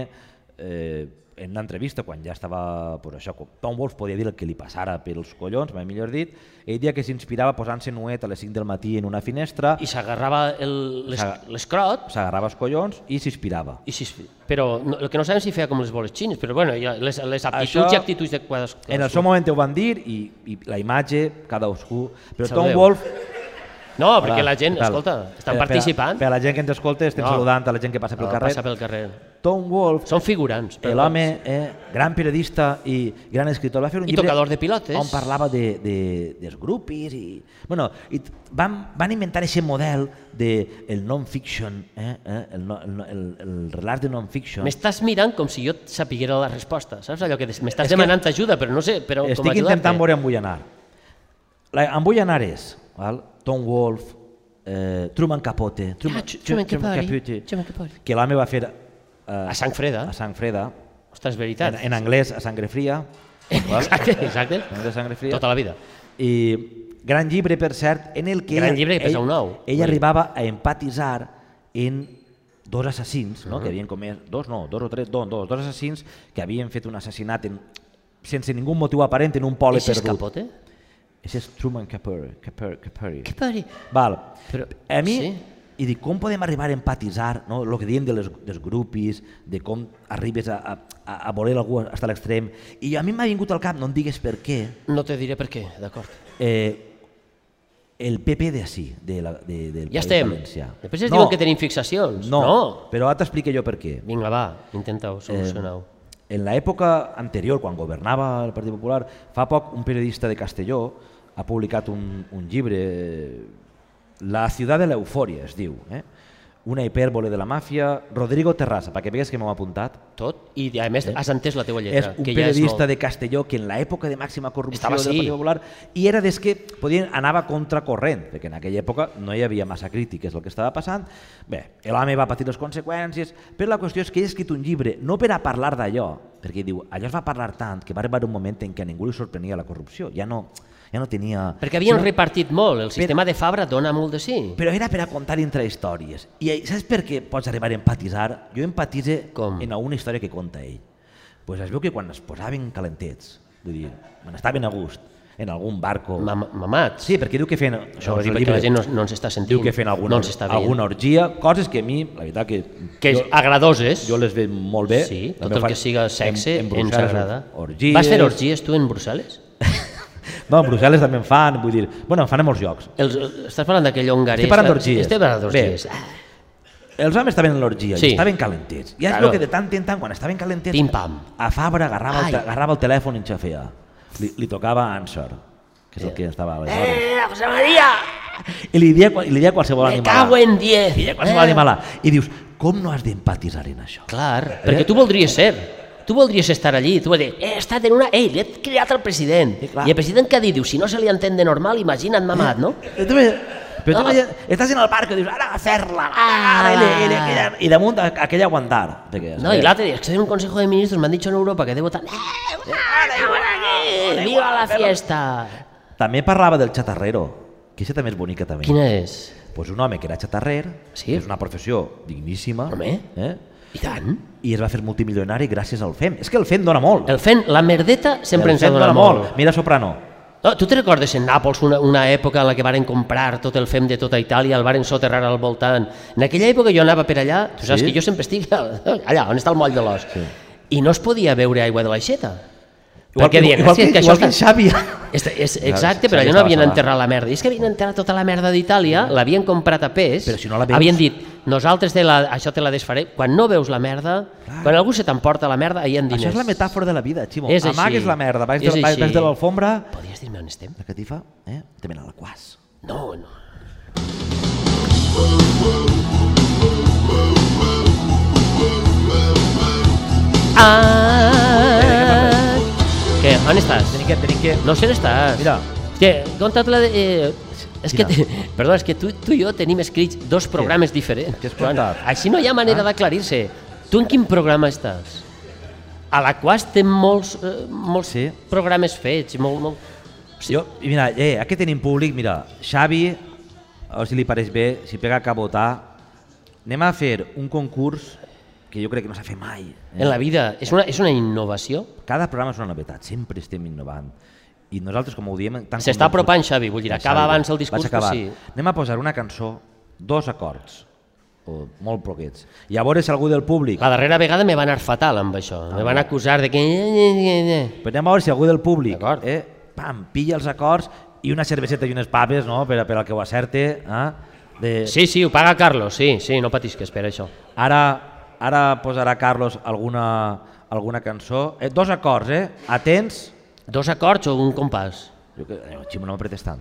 eh, en una entrevista, quan ja estava pues, això, com Tom Wolfe podia dir el que li passara pels collons, mai millor dit, ell dia que s'inspirava posant-se nuet a les 5 del matí en una finestra,
I s'agarrava el-
S'aga-
l'es- l'escrot,
s'agarrava els collons i s'inspirava.
i si, però no, el que no sabem si feia com les boles xines, però bueno, ja, les, les aptituds
Això-
i actituds de cadascú.
En el seu moment ho van dir i, i la imatge, cadascú... Però Tom
Saludeu.
Wolfe...
No, perquè la gent,
Tal. Eh,
escolta, estan
Per- per a-
participant,
Per a la gent que ens escolta, estem
No.
saludant a la gent que passa pel
no,
carrer.
passa pel carrer.
Tom Wolfe,
Són figurants. però-
l'home, eh, gran periodista i gran escriptor, va fer un
I
llibre...
tocador de pilotes.
On parlava de, de, dels grupis i... Bueno, i t- van, van inventar aquest model de el non-fiction, eh, eh, el, no- el, no- el, el relat de non-fiction.
M'estàs mirant com si jo sapiguera la resposta, saps? Allò que des-
És
m'estàs
que-
demanant ajuda, però no sé, però com eh?
Estic
ajudar-te.
intentant veure on vull anar. La, on vull anar és val? Tom Wolfe, eh, Truman Capote,
Ah, Tru- Truman Capote,
Capote,
Truman Capote.
que l'home va fer eh,
A sang freda.
a sang freda,
Ostres, veritat.
en, en anglès a sangre fria, val?
Exacte, exacte.
En anglès a sangre fria.
Tota la vida.
I gran llibre, per cert, en el que
Gran
ella,
llibre que pesa
ell-
un ou.
ell
Vull dir.
arribava a empatitzar en dos assassins, no? que havien comès, dos no, dos o tres, dos, dos, dos assassins que havien fet un assassinat en, sense ningú motiu aparent en un poble
Ese és
perdut.
capote?
Ese és Truman Capote. Capote, Capote.
Què pari?
Val.
Però-
Però, a mi,
sí.
sí. i dic, com podem arribar a empatitzar, no? el que diem de les, dels grupis, de com arribes a, a, a, a voler algú fins a l'extrem. I a mi m'ha vingut al cap, no em digues per què,
No te diré per què, d'acord.
eh, el PP de així, de la, de, del
Ja
País
estem.
Valencià.
Després es diuen que tenim fixacions.
No, Eh.
no.
però ara t'explico jo per què.
Vinga, va, intenta-ho, soluciona-ho.
En l'època anterior, quan governava el Partit Popular, fa poc un periodista de Castelló ha publicat un, un llibre, eh, La ciutat de l'eufòria, es diu, eh? una hipèrbole de la màfia, Rodrigo Terrassa, perquè vegues que m'ho ha apuntat,
Tot, i a més has entès la teva
Eh. és
lletra.
un
que ja és
periodista
molt...
de Castelló que en l'època de màxima corrupció
Estava
del
així.
Partit Popular i era des que podien, anava contracorrent, perquè en aquella època no hi havia massa crítiques el que estava passant. Bé, l'home va patir les conseqüències, però la qüestió és que ell ha escrit un llibre no per a parlar d'allò, perquè diu, allò es va parlar tant que va arribar un moment en què a ningú li sorprenia la corrupció, ja no, ja no tenia...
Perquè havien
sinó-
repartit molt, el sistema de Fabra dona molt de sí.
però era per a contar entre històries. I eh, saps per què pots arribar a empatitzar? Jo empatitze
Com?
en alguna història que conta ell. pues es veu que quan es posaven calentets, vull dir, quan estaven a gust, en algun barco...
Ma- Mamats.
Sí, perquè diu que feien...
Això ho
el
dic perquè
llibre
la gent no, no ens està sentint.
Diu que feien alguna,
no ens està veient.
alguna orgia, coses que a mi, la veritat que...
Que és
jo,
agradoses.
jo les veig molt bé.
Sí,
La
tot
meva
el
fa-
que siga sexe
en, en
ens
Brussel·les,
agrada.
Orgies,
Vas fer orgies tu en Brussel·les?
No, a Brussel·les també en fan, vull dir... Bueno, en fan a molts llocs.
Els, estàs parlant d'aquell hongarès? eh?
Estic parlant d'orgies.
Estic parlant d'orgies.
Bé. Els homes estaven en l'orgia
Sí.
i estaven calentets. I és
Claro.
claro. que de tant en tant, quan estaven calentets,
Pim-pam.
a Fabra agarrava el, te-
Ai.
agarrava el telèfon i enxafea. Li, li tocava Answer, que és el que estava aleshores.
Eh, José María,
I li dia, qual- i li dia qualsevol
me
animalà.
cago en Eh. 10.
Li dia qualsevol animalà. I dius, com no has d'empatitzar en això?
Clar, perquè tu voldries ser. Tu voldries estar allí, tu vas dir, "Eh, he estat en una... Ei, li he cridat al president.
Sí, clar.
I el president què ha dit? Diu, si no se li entén de normal, imagina't mamat, no?
Eh, tu ve- Però tu
No.
veia- estàs en el parc i dius, ara a fer-la, ara, ele, ele, aquella, i damunt a- aquell aguantar. Perquè,
No, i l'altre dia, és que en un Consejo de Ministros m'han dit en Europa que deu votar... Eh, ara, ara, aquí, viva la fiesta!
També parlava del xatarrero, que això també és bonica també.
Quina és?
pues un home que era xatarrer,
Sí.
que és una professió digníssima,
Home.
eh?
I tant.
i es va fer multimilionari gràcies al FEM. És que el FEM dona molt.
El fent, la merdeta sempre
El
ens ha
FEM
donat molt.
Mira Soprano.
No, tu te recordes en Nàpols una, una època en la que varen comprar tot el fem de tota Itàlia, el varen soterrar al voltant. En aquella època jo anava per allà, tu saps
Sí?
que jo sempre estic al- allà on està el moll de l'os, sí. i no es podia beure aigua de l'aixeta.
Igual que, igual que, igual que en Xavi.
és, és,
Clar,
exacte, però
Xavi
allò no
estava
havien
sola.
enterrat la merda. I és que havien enterrat tota la merda d'Itàlia, l'havien comprat a pes,
Però si no la veus-
havien dit, nosaltres te la, això te la desfaré. Quan no veus la merda, quan algú se t'emporta la merda, hi ha diners.
Això és la metàfora de la vida, Ximo.
És així.
Amagues la merda, baix de,
És
baix,
així.
baix de l'alfombra,
Podries dir-me on estem?
la catifa, eh? també a la quas.
No, no. Ah, què? On estàs?
Tenim que, tenim que...
No sé on estàs.
Mira.
Hòstia, conta't la de... Eh, és que,
Quina?
perdó, és que tu, tu i jo tenim escrits dos programes diferents.
Què has contat? Ah.
Joan, Així no hi ha manera d'aclarir-se. Tu en quin programa estàs? A la qual té molts, eh, molts
Sí.
programes fets. Molt, molt...
Sí. Jo, i mira, eh, aquí tenim públic, mira, Xavi, o si li pareix bé, si pega cap a votar, anem a fer un concurs que jo crec que no s'ha fet mai. eh?
En la vida. És una, és una innovació.
Cada programa és una novetat, sempre estem innovant. I nosaltres, com ho diem... tan
S'està
convençuts-
apropant, Xavi, vull dir, acaba
Xavi,
abans el
vaig
discurs, però
acabar.
sí.
Anem a posar una cançó, dos acords, o molt poquets, i a veure si algú del públic...
La darrera vegada me va anar fatal amb això. Me van acusar de que...
Però anem a veure si algú del públic
D'acord.
eh, pam, pilla els acords i una cerveseta i unes papes, no?, per, a- per al que ho acerte. Eh? De...
Sí, sí, ho paga Carlos, sí, sí, no patis que espera això.
Ara, ara posarà Carlos alguna, alguna cançó. Eh, dos acords, eh? Atents.
Dos acords o un compàs?
Jo que, eh, Ximo, no m'apretes tant.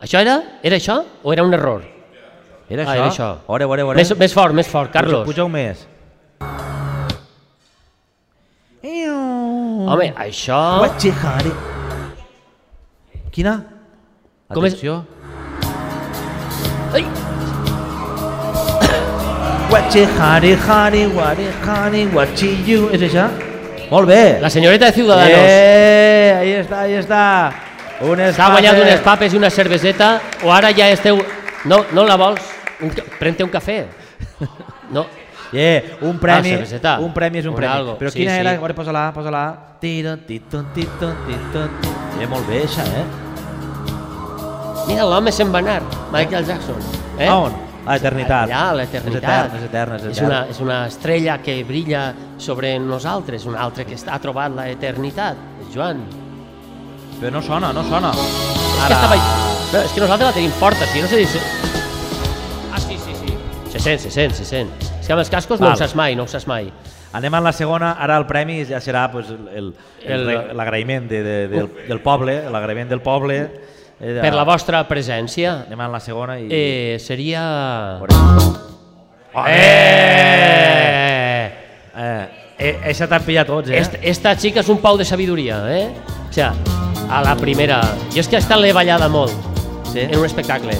Això era? Era això o era un error?
Era
Ah,
això?
era això.
Ore, ore, ore.
Més, més fort, més fort, Carlos.
Puja, puja un més.
Home, això...
Guatxejare. Quina?
Com és?
Atenció.
Ai!
Guatxejare, jare, guare, jare, guatxillu. És això? Molt bé.
La senyoreta de Ciudadanos
Eh, ahí està, ahí està. Un
s'ha
eh.
guanyat unes papes i una cerveseta o ara ja esteu... No, no la vols? Un... ca- Pren-te un cafè. No,
Eh, un premi,
Ah, cerveseta.
un premi és un
Un
premi.
algo.
Però
Sí,
quina
sí.
era? Guarda, posa-la, posa-la. Tiro, tito, tito, tito, tito. Eh, molt bé, això, eh?
Mira, l'home se'n va anar, Michael Jackson. Eh?
A on? A l'eternitat.
Allà, a l'eternitat.
És etern, és etern, és etern.
És una, és una estrella que brilla sobre nosaltres, una altra que està- ha trobat l'eternitat, Joan.
Però no sona, no sona.
Ara... Estava... No, és que nosaltres la tenim forta, si no sé dir... si- Ah, sí, sí, sí. Se sent, se sent, se sent. És que amb els cascos no
Val.
ho saps mai, no ho saps mai.
Anem a la segona, ara el premi ja serà pues, el- el- el-
El-
l'agraïment de, de, del, del poble, l'agraïment del poble. Eh, de-
Per la vostra presència,
Anem a la segona i...
eh, seria...
Eh!
Eh!
Eh, eh, eixa t'han pillat tots, eh?
Est, esta xica és un pau de sabidoria, eh? O sea, a la primera... Jo és que esta l'he ballada molt
Sí?
en un espectacle.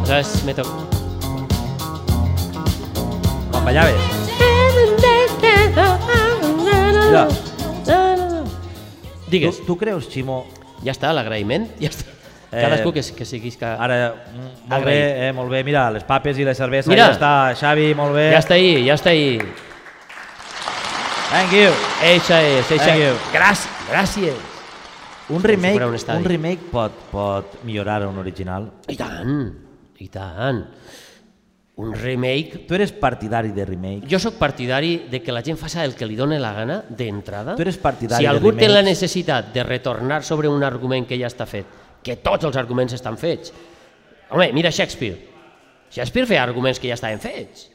Aleshores, me toc...
Quan ballaves. Ja.
Digues,
Tu, tu creus, Ximo,
ja està, l'agraïment? Ja està.
Eh,
Cadascú que, que siguis... Que...
ara, mm, molt bé,
Agraït.
eh, molt bé, mira, les papes i les cervesa,
Mira.
ja està, Xavi, molt bé.
Ja està ahí, ja està ahí.
Thank you.
Eixa és, eixa...
Thank you.
Gràcies, gràcies.
Un
si
remake,
fuera un
un,
estadi.
remake pot, pot millorar un original.
I tant, i tant. Un remake...
Tu eres partidari de remake.
Jo sóc partidari de que la gent faça el que li doni la gana d'entrada.
Tu eres partidari
Si
de
algú té
remakes.
la necessitat de retornar sobre un argument que ja està fet, que tots els arguments estan fets. Home, mira Shakespeare. Shakespeare feia arguments que ja estaven fets.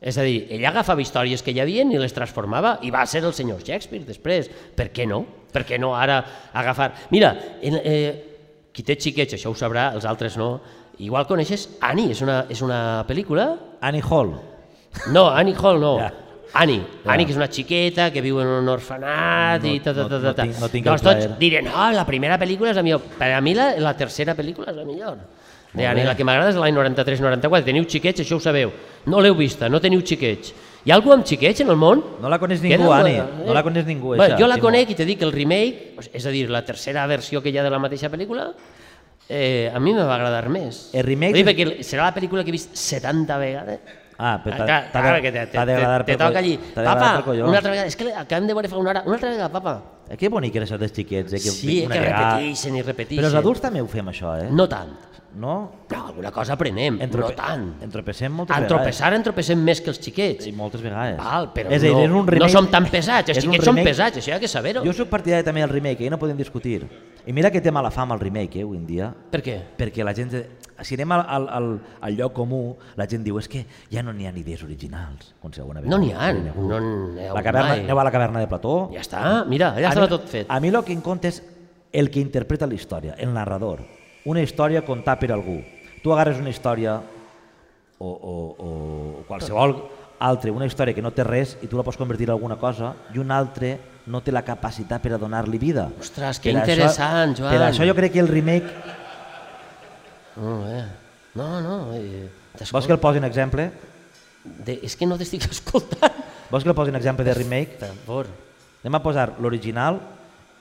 És a dir, ell agafava històries que hi havia i les transformava i va ser el senyor Shakespeare després. Per què no? Per què no ara agafar... Mira, en, eh, qui té xiquets això ho sabrà, els altres no. Igual coneixes Annie, és una, és una pel·lícula
Annie Hall.
no, Annie Hall no.
Ja.
Annie,
Ja.
Annie, que és una xiqueta que viu en un orfenat
No-
i ta, ta, ta, ta,
no- no
ta.
tinc- no tinc el
doncs tots
plaer.
diran, oh, la primera pel·lícula és la millor. Per a mi la, la tercera pel·lícula és la millor.
Molt
De Annie,
bé.
la que m'agrada és l'any 93-94. Teniu xiquets, això ho sabeu. No l'heu vista, no teniu xiquets. Hi ha algú amb xiquets en el món?
No la coneix
Queda
ningú,
alguna-
Ani. No la coneix ningú,
Bé,
això,
Eh? jo la
Timo.
conec i te dic que el remake, és a dir, la tercera versió que hi ha de la mateixa pel·lícula, eh, a mi me va agradar més.
El remake
Ho dic
és-
perquè serà la pel·lícula que he vist 70 vegades.
Ah, però
Ah, clar,
t'ha-
clar,
t'ha
que
de-
te, te,
t'ha
te,
d'agradar
te
per
toca
coll-
allí.
t'ha d'agradar
Papa,
per collons.
una altra vegada, és que acabem de veure fa una hora, una altra vegada, papa.
Eh, Que bonic era això dels xiquets, eh? Que
Sí,
una
que
vegada-
repeteixen i repeteixen.
Però els adults també ho fem, això, eh?
No tant.
No?
No, alguna cosa aprenem,
Entrope-
no tant.
Entropecem moltes
En
vegades.
tropeçar, en tropecem més que els xiquets.
Sí, moltes vegades.
Val, però
és a dir,
no,
és un remake,
no som tan pesats, els
és un
xiquets són
remake-
pesats, això hi ha que saber-ho.
Jo sóc partidari també del remake, eh? no podem discutir. I mira que té mala fama el remake, eh, avui en dia,
Per què?
perquè la gent... Si anem al, al, al, al lloc comú, la gent diu és que ja no n'hi ha ni idees originals. Com si alguna vegada
No n'hi ha,
ho havia hagut.
no n'hi ha
la caverna,
mai.
Aneu a la caverna de Plató.
Ja està, mira, ja
A mi-
estava tot fet.
A mi el que em compta és el que interpreta la història, el narrador. Una història contada per algú. Tu agarres una història o, o, o qualsevol altre, una història que no té res i tu la pots convertir en alguna cosa i un altre no té la capacitat per a donar-li vida.
Ostres, que
Per això-
interessant, Joan.
Per això jo crec que el remake...
No, eh. no, no. Eh, t'escol-
Vols que el posi un exemple?
de... És que no t'estic escoltant.
Vols que el posi un exemple de remake?
Per favor.
Anem a posar l'original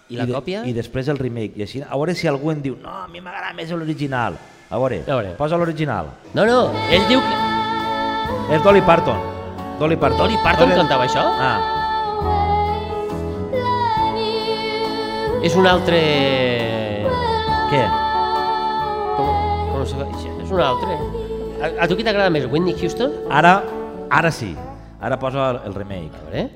I la còpia?
I després el remake. I així, a veure si algú en diu, no, a mi m'agrada més l'original. A veure,
A veure.
posa l'original.
No, no, ell diu que...
És Dolly Parton. Dolly Parton.
Dolly Parton cantava això?
Ah,
És un altre...
què?
Com, com se fa? És un altre. A, a tu qui t'agrada més, Whitney Houston?
Ara, ara sí. Ara posa el- el
A
remake.
veure...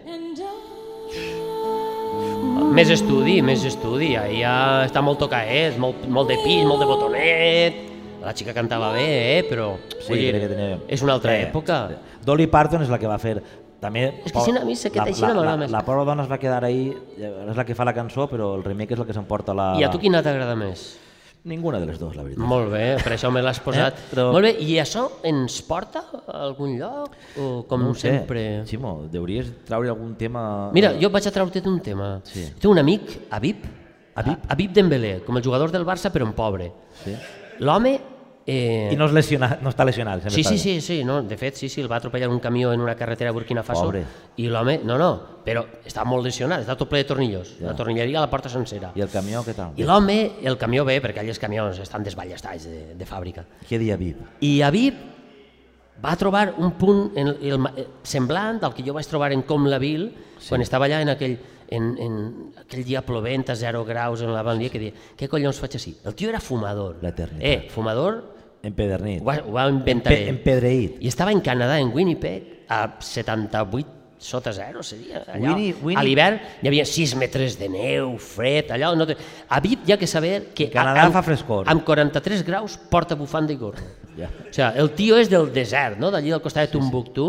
Més estudi, més estudi. Ahí ja està molt tocaet, molt, molt de pis, molt de botonet. La xica cantava bé, eh? però...
Sí,
vull dir,
crec que tenia...
És una altra
Eh,
època.
Dolly Parton és la que va fer també...
És que
po-
així a mi sé que
la-
així
la-
no m'agrada
la-
més.
La pobra dona es va quedar ahí, eh, és la que fa la cançó, però el remake és la que s'emporta la...
I a tu quina t'agrada més?
Ninguna de les dues, la veritat.
Molt bé, per això me l'has posat.
Eh,
Eh,
però-
Molt bé, i això ens porta a algun lloc? O com
No ho sé.
sempre?
Ximo, deuries treure algun tema...
Mira, jo vaig a treure't un tema.
Sí.
Té un amic, Habib,
Habib?
Habib Dembélé, com el jugador del Barça, però en pobre.
Sí.
L'home... Eh...
I no, és lesionat, no està lesionat. sempre
Sí,
està
sí,
bé.
sí, sí, no, de fet, sí, sí, el va atropellar un camió en una carretera a Burkina Faso
Pobre.
i l'home, no, no, però està molt lesionat, està tot ple de tornillos,
Ja.
la tornilleria la porta sencera.
I el camió, què tal?
I l'home, el camió bé, perquè allà els camions estan desballestats de, de fàbrica.
Què dia viu?
I Habib va trobar un punt en el, el, ma- eh, semblant al que jo vaig trobar en Comlaville sí. quan estava allà en aquell, en, en aquell dia plovent a 0 graus en la banlia que deia, què collons faig així? El tio era fumador.
L'eternitat.
Eh, fumador,
Empedernit.
ho, va- ho va
Empe
inventar ell.
empedreït.
I estava en Canadà, en Winnipeg, a 78 sota zero seria. Allò.
Winnie- Winnie-
A l'hivern hi havia 6 metres de neu, fred, allò... No te... A Vic hi ha que saber que...
Que a Nadal
amb-
fa frescor.
Amb 43 graus porta bufanda i gorro.
Ja.
O sigui, el tio és del desert, no? d'allí del costat de Tumbuktu,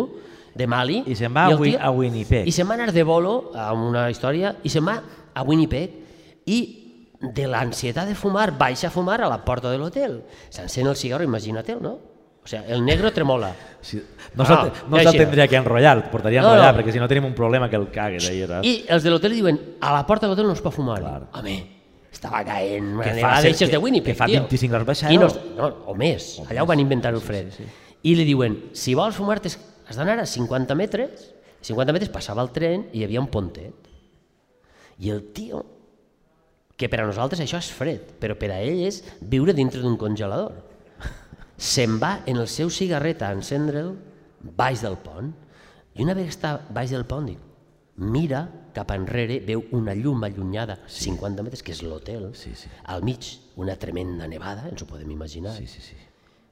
de Mali.
I se'n va a
el
Win- a Winnipeg.
I se'n va anar de bolo, amb una història, i se'n va a Winnipeg i de l'ansietat de fumar, baixa a fumar a la porta de l'hotel. S'encén el cigarro, imagina't-ho, no? O sigui, el negro tremola.
Sí. No, se'l-
Ah,
no
ja
se'l
així.
tindria que enrotllar, el portaria a
No,
enrotllar,
no.
perquè si no tenim un problema que el cague d'ahir. saps?
I els de l'hotel li diuen, a la porta de l'hotel no es pot fumar.
Clar.
Home, estava caent una
Que fa
nevada
ser-
d'eixes de
que-
Winnipeg,
que fa
tio.
25 graus baixar,
I
no?
no, es- no, o més, allà ho van inventar el fred. I li diuen, si vols fumar t'has- has d'anar a 50 metres, 50 metres passava el tren i hi havia un pontet. I el tio, que per a nosaltres això és fred, però per a ell és viure dintre d'un congelador se'n va en el seu cigarret a encendre'l baix del pont i una vegada està baix del pont dic, mira cap enrere, veu una llum allunyada, 50 metres, que és l'hotel,
Sí, sí.
al mig una tremenda nevada, ens ho podem imaginar.
Sí, sí, sí.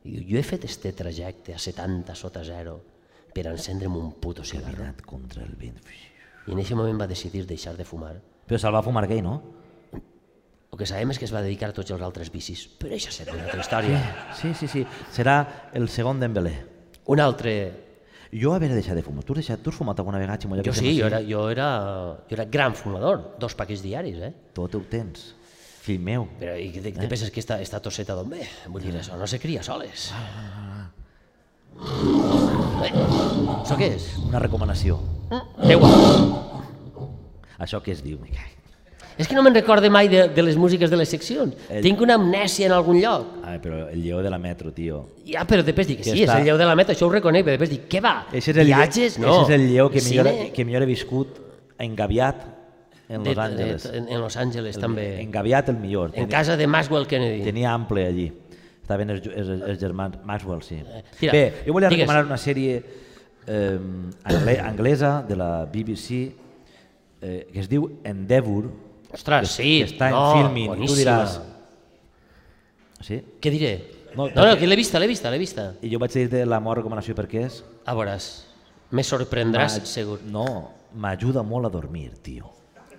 I diu, jo he fet este trajecte a 70 sota zero per encendre'm un puto cigarro.
Caminat contra el vent.
I en aquest moment va decidir deixar de fumar.
Però se'l va fumar gai, no?
El que sabem és que es va dedicar a tots els altres vicis, però això serà una altra història.
Sí, sí, sí. Serà el segon d'Embelé.
Un altre...
Jo haver deixat de fumar. Tu has, deixat, tu has fumat alguna vegada, Ximo?
Jo sí, jo era, jo era, jo era gran fumador, dos paquets diaris, eh?
Tot ho tens. Fill meu.
Però i què te,
Eh?
te penses que esta, esta tosseta d'on ve? Vull
Ah.
dir, això no se cria soles. Eh, Això què és?
Una recomanació.
Déu.
Això què es diu? Me cago.
És que no me'n recorde mai de, de les músiques de les seccions.
El-
Tinc una amnèsia en algun lloc.
Ai, però el lleó de la metro, tio.
Ja, però després dic,
Que
sí, és
està-
el lleu de la meta, això ho reconec, però després dic, què va?
Ese és el
Viatges?
lleó,
No.
ese és el lleó que millor,
Cine?
que millor he viscut engaviat en Los Angeles.
De, de, en, en Los Angeles, també. En,
Engaviat el millor. Tenia,
casa de Maxwell Kennedy.
tenia ample allí. Estaven els, ju- els, els germans Maxwell, sí.
Eh, tira,
Bé, jo volia
digues.
recomanar una sèrie eh, angle- anglesa de la BBC eh, que es diu Endeavour,
Ostres, Ah, sí.
que està
no,
en filming. i Tu
boníssima.
diràs... Sí?
Què diré? No,
No,
no,
perquè-
que l'he vista, l'he vista, l'he vista.
I jo vaig dir-te la meva recomanació perquè és...
A veuràs, me sorprendràs,
Ma-
segur.
No, m'ajuda molt a dormir, tio.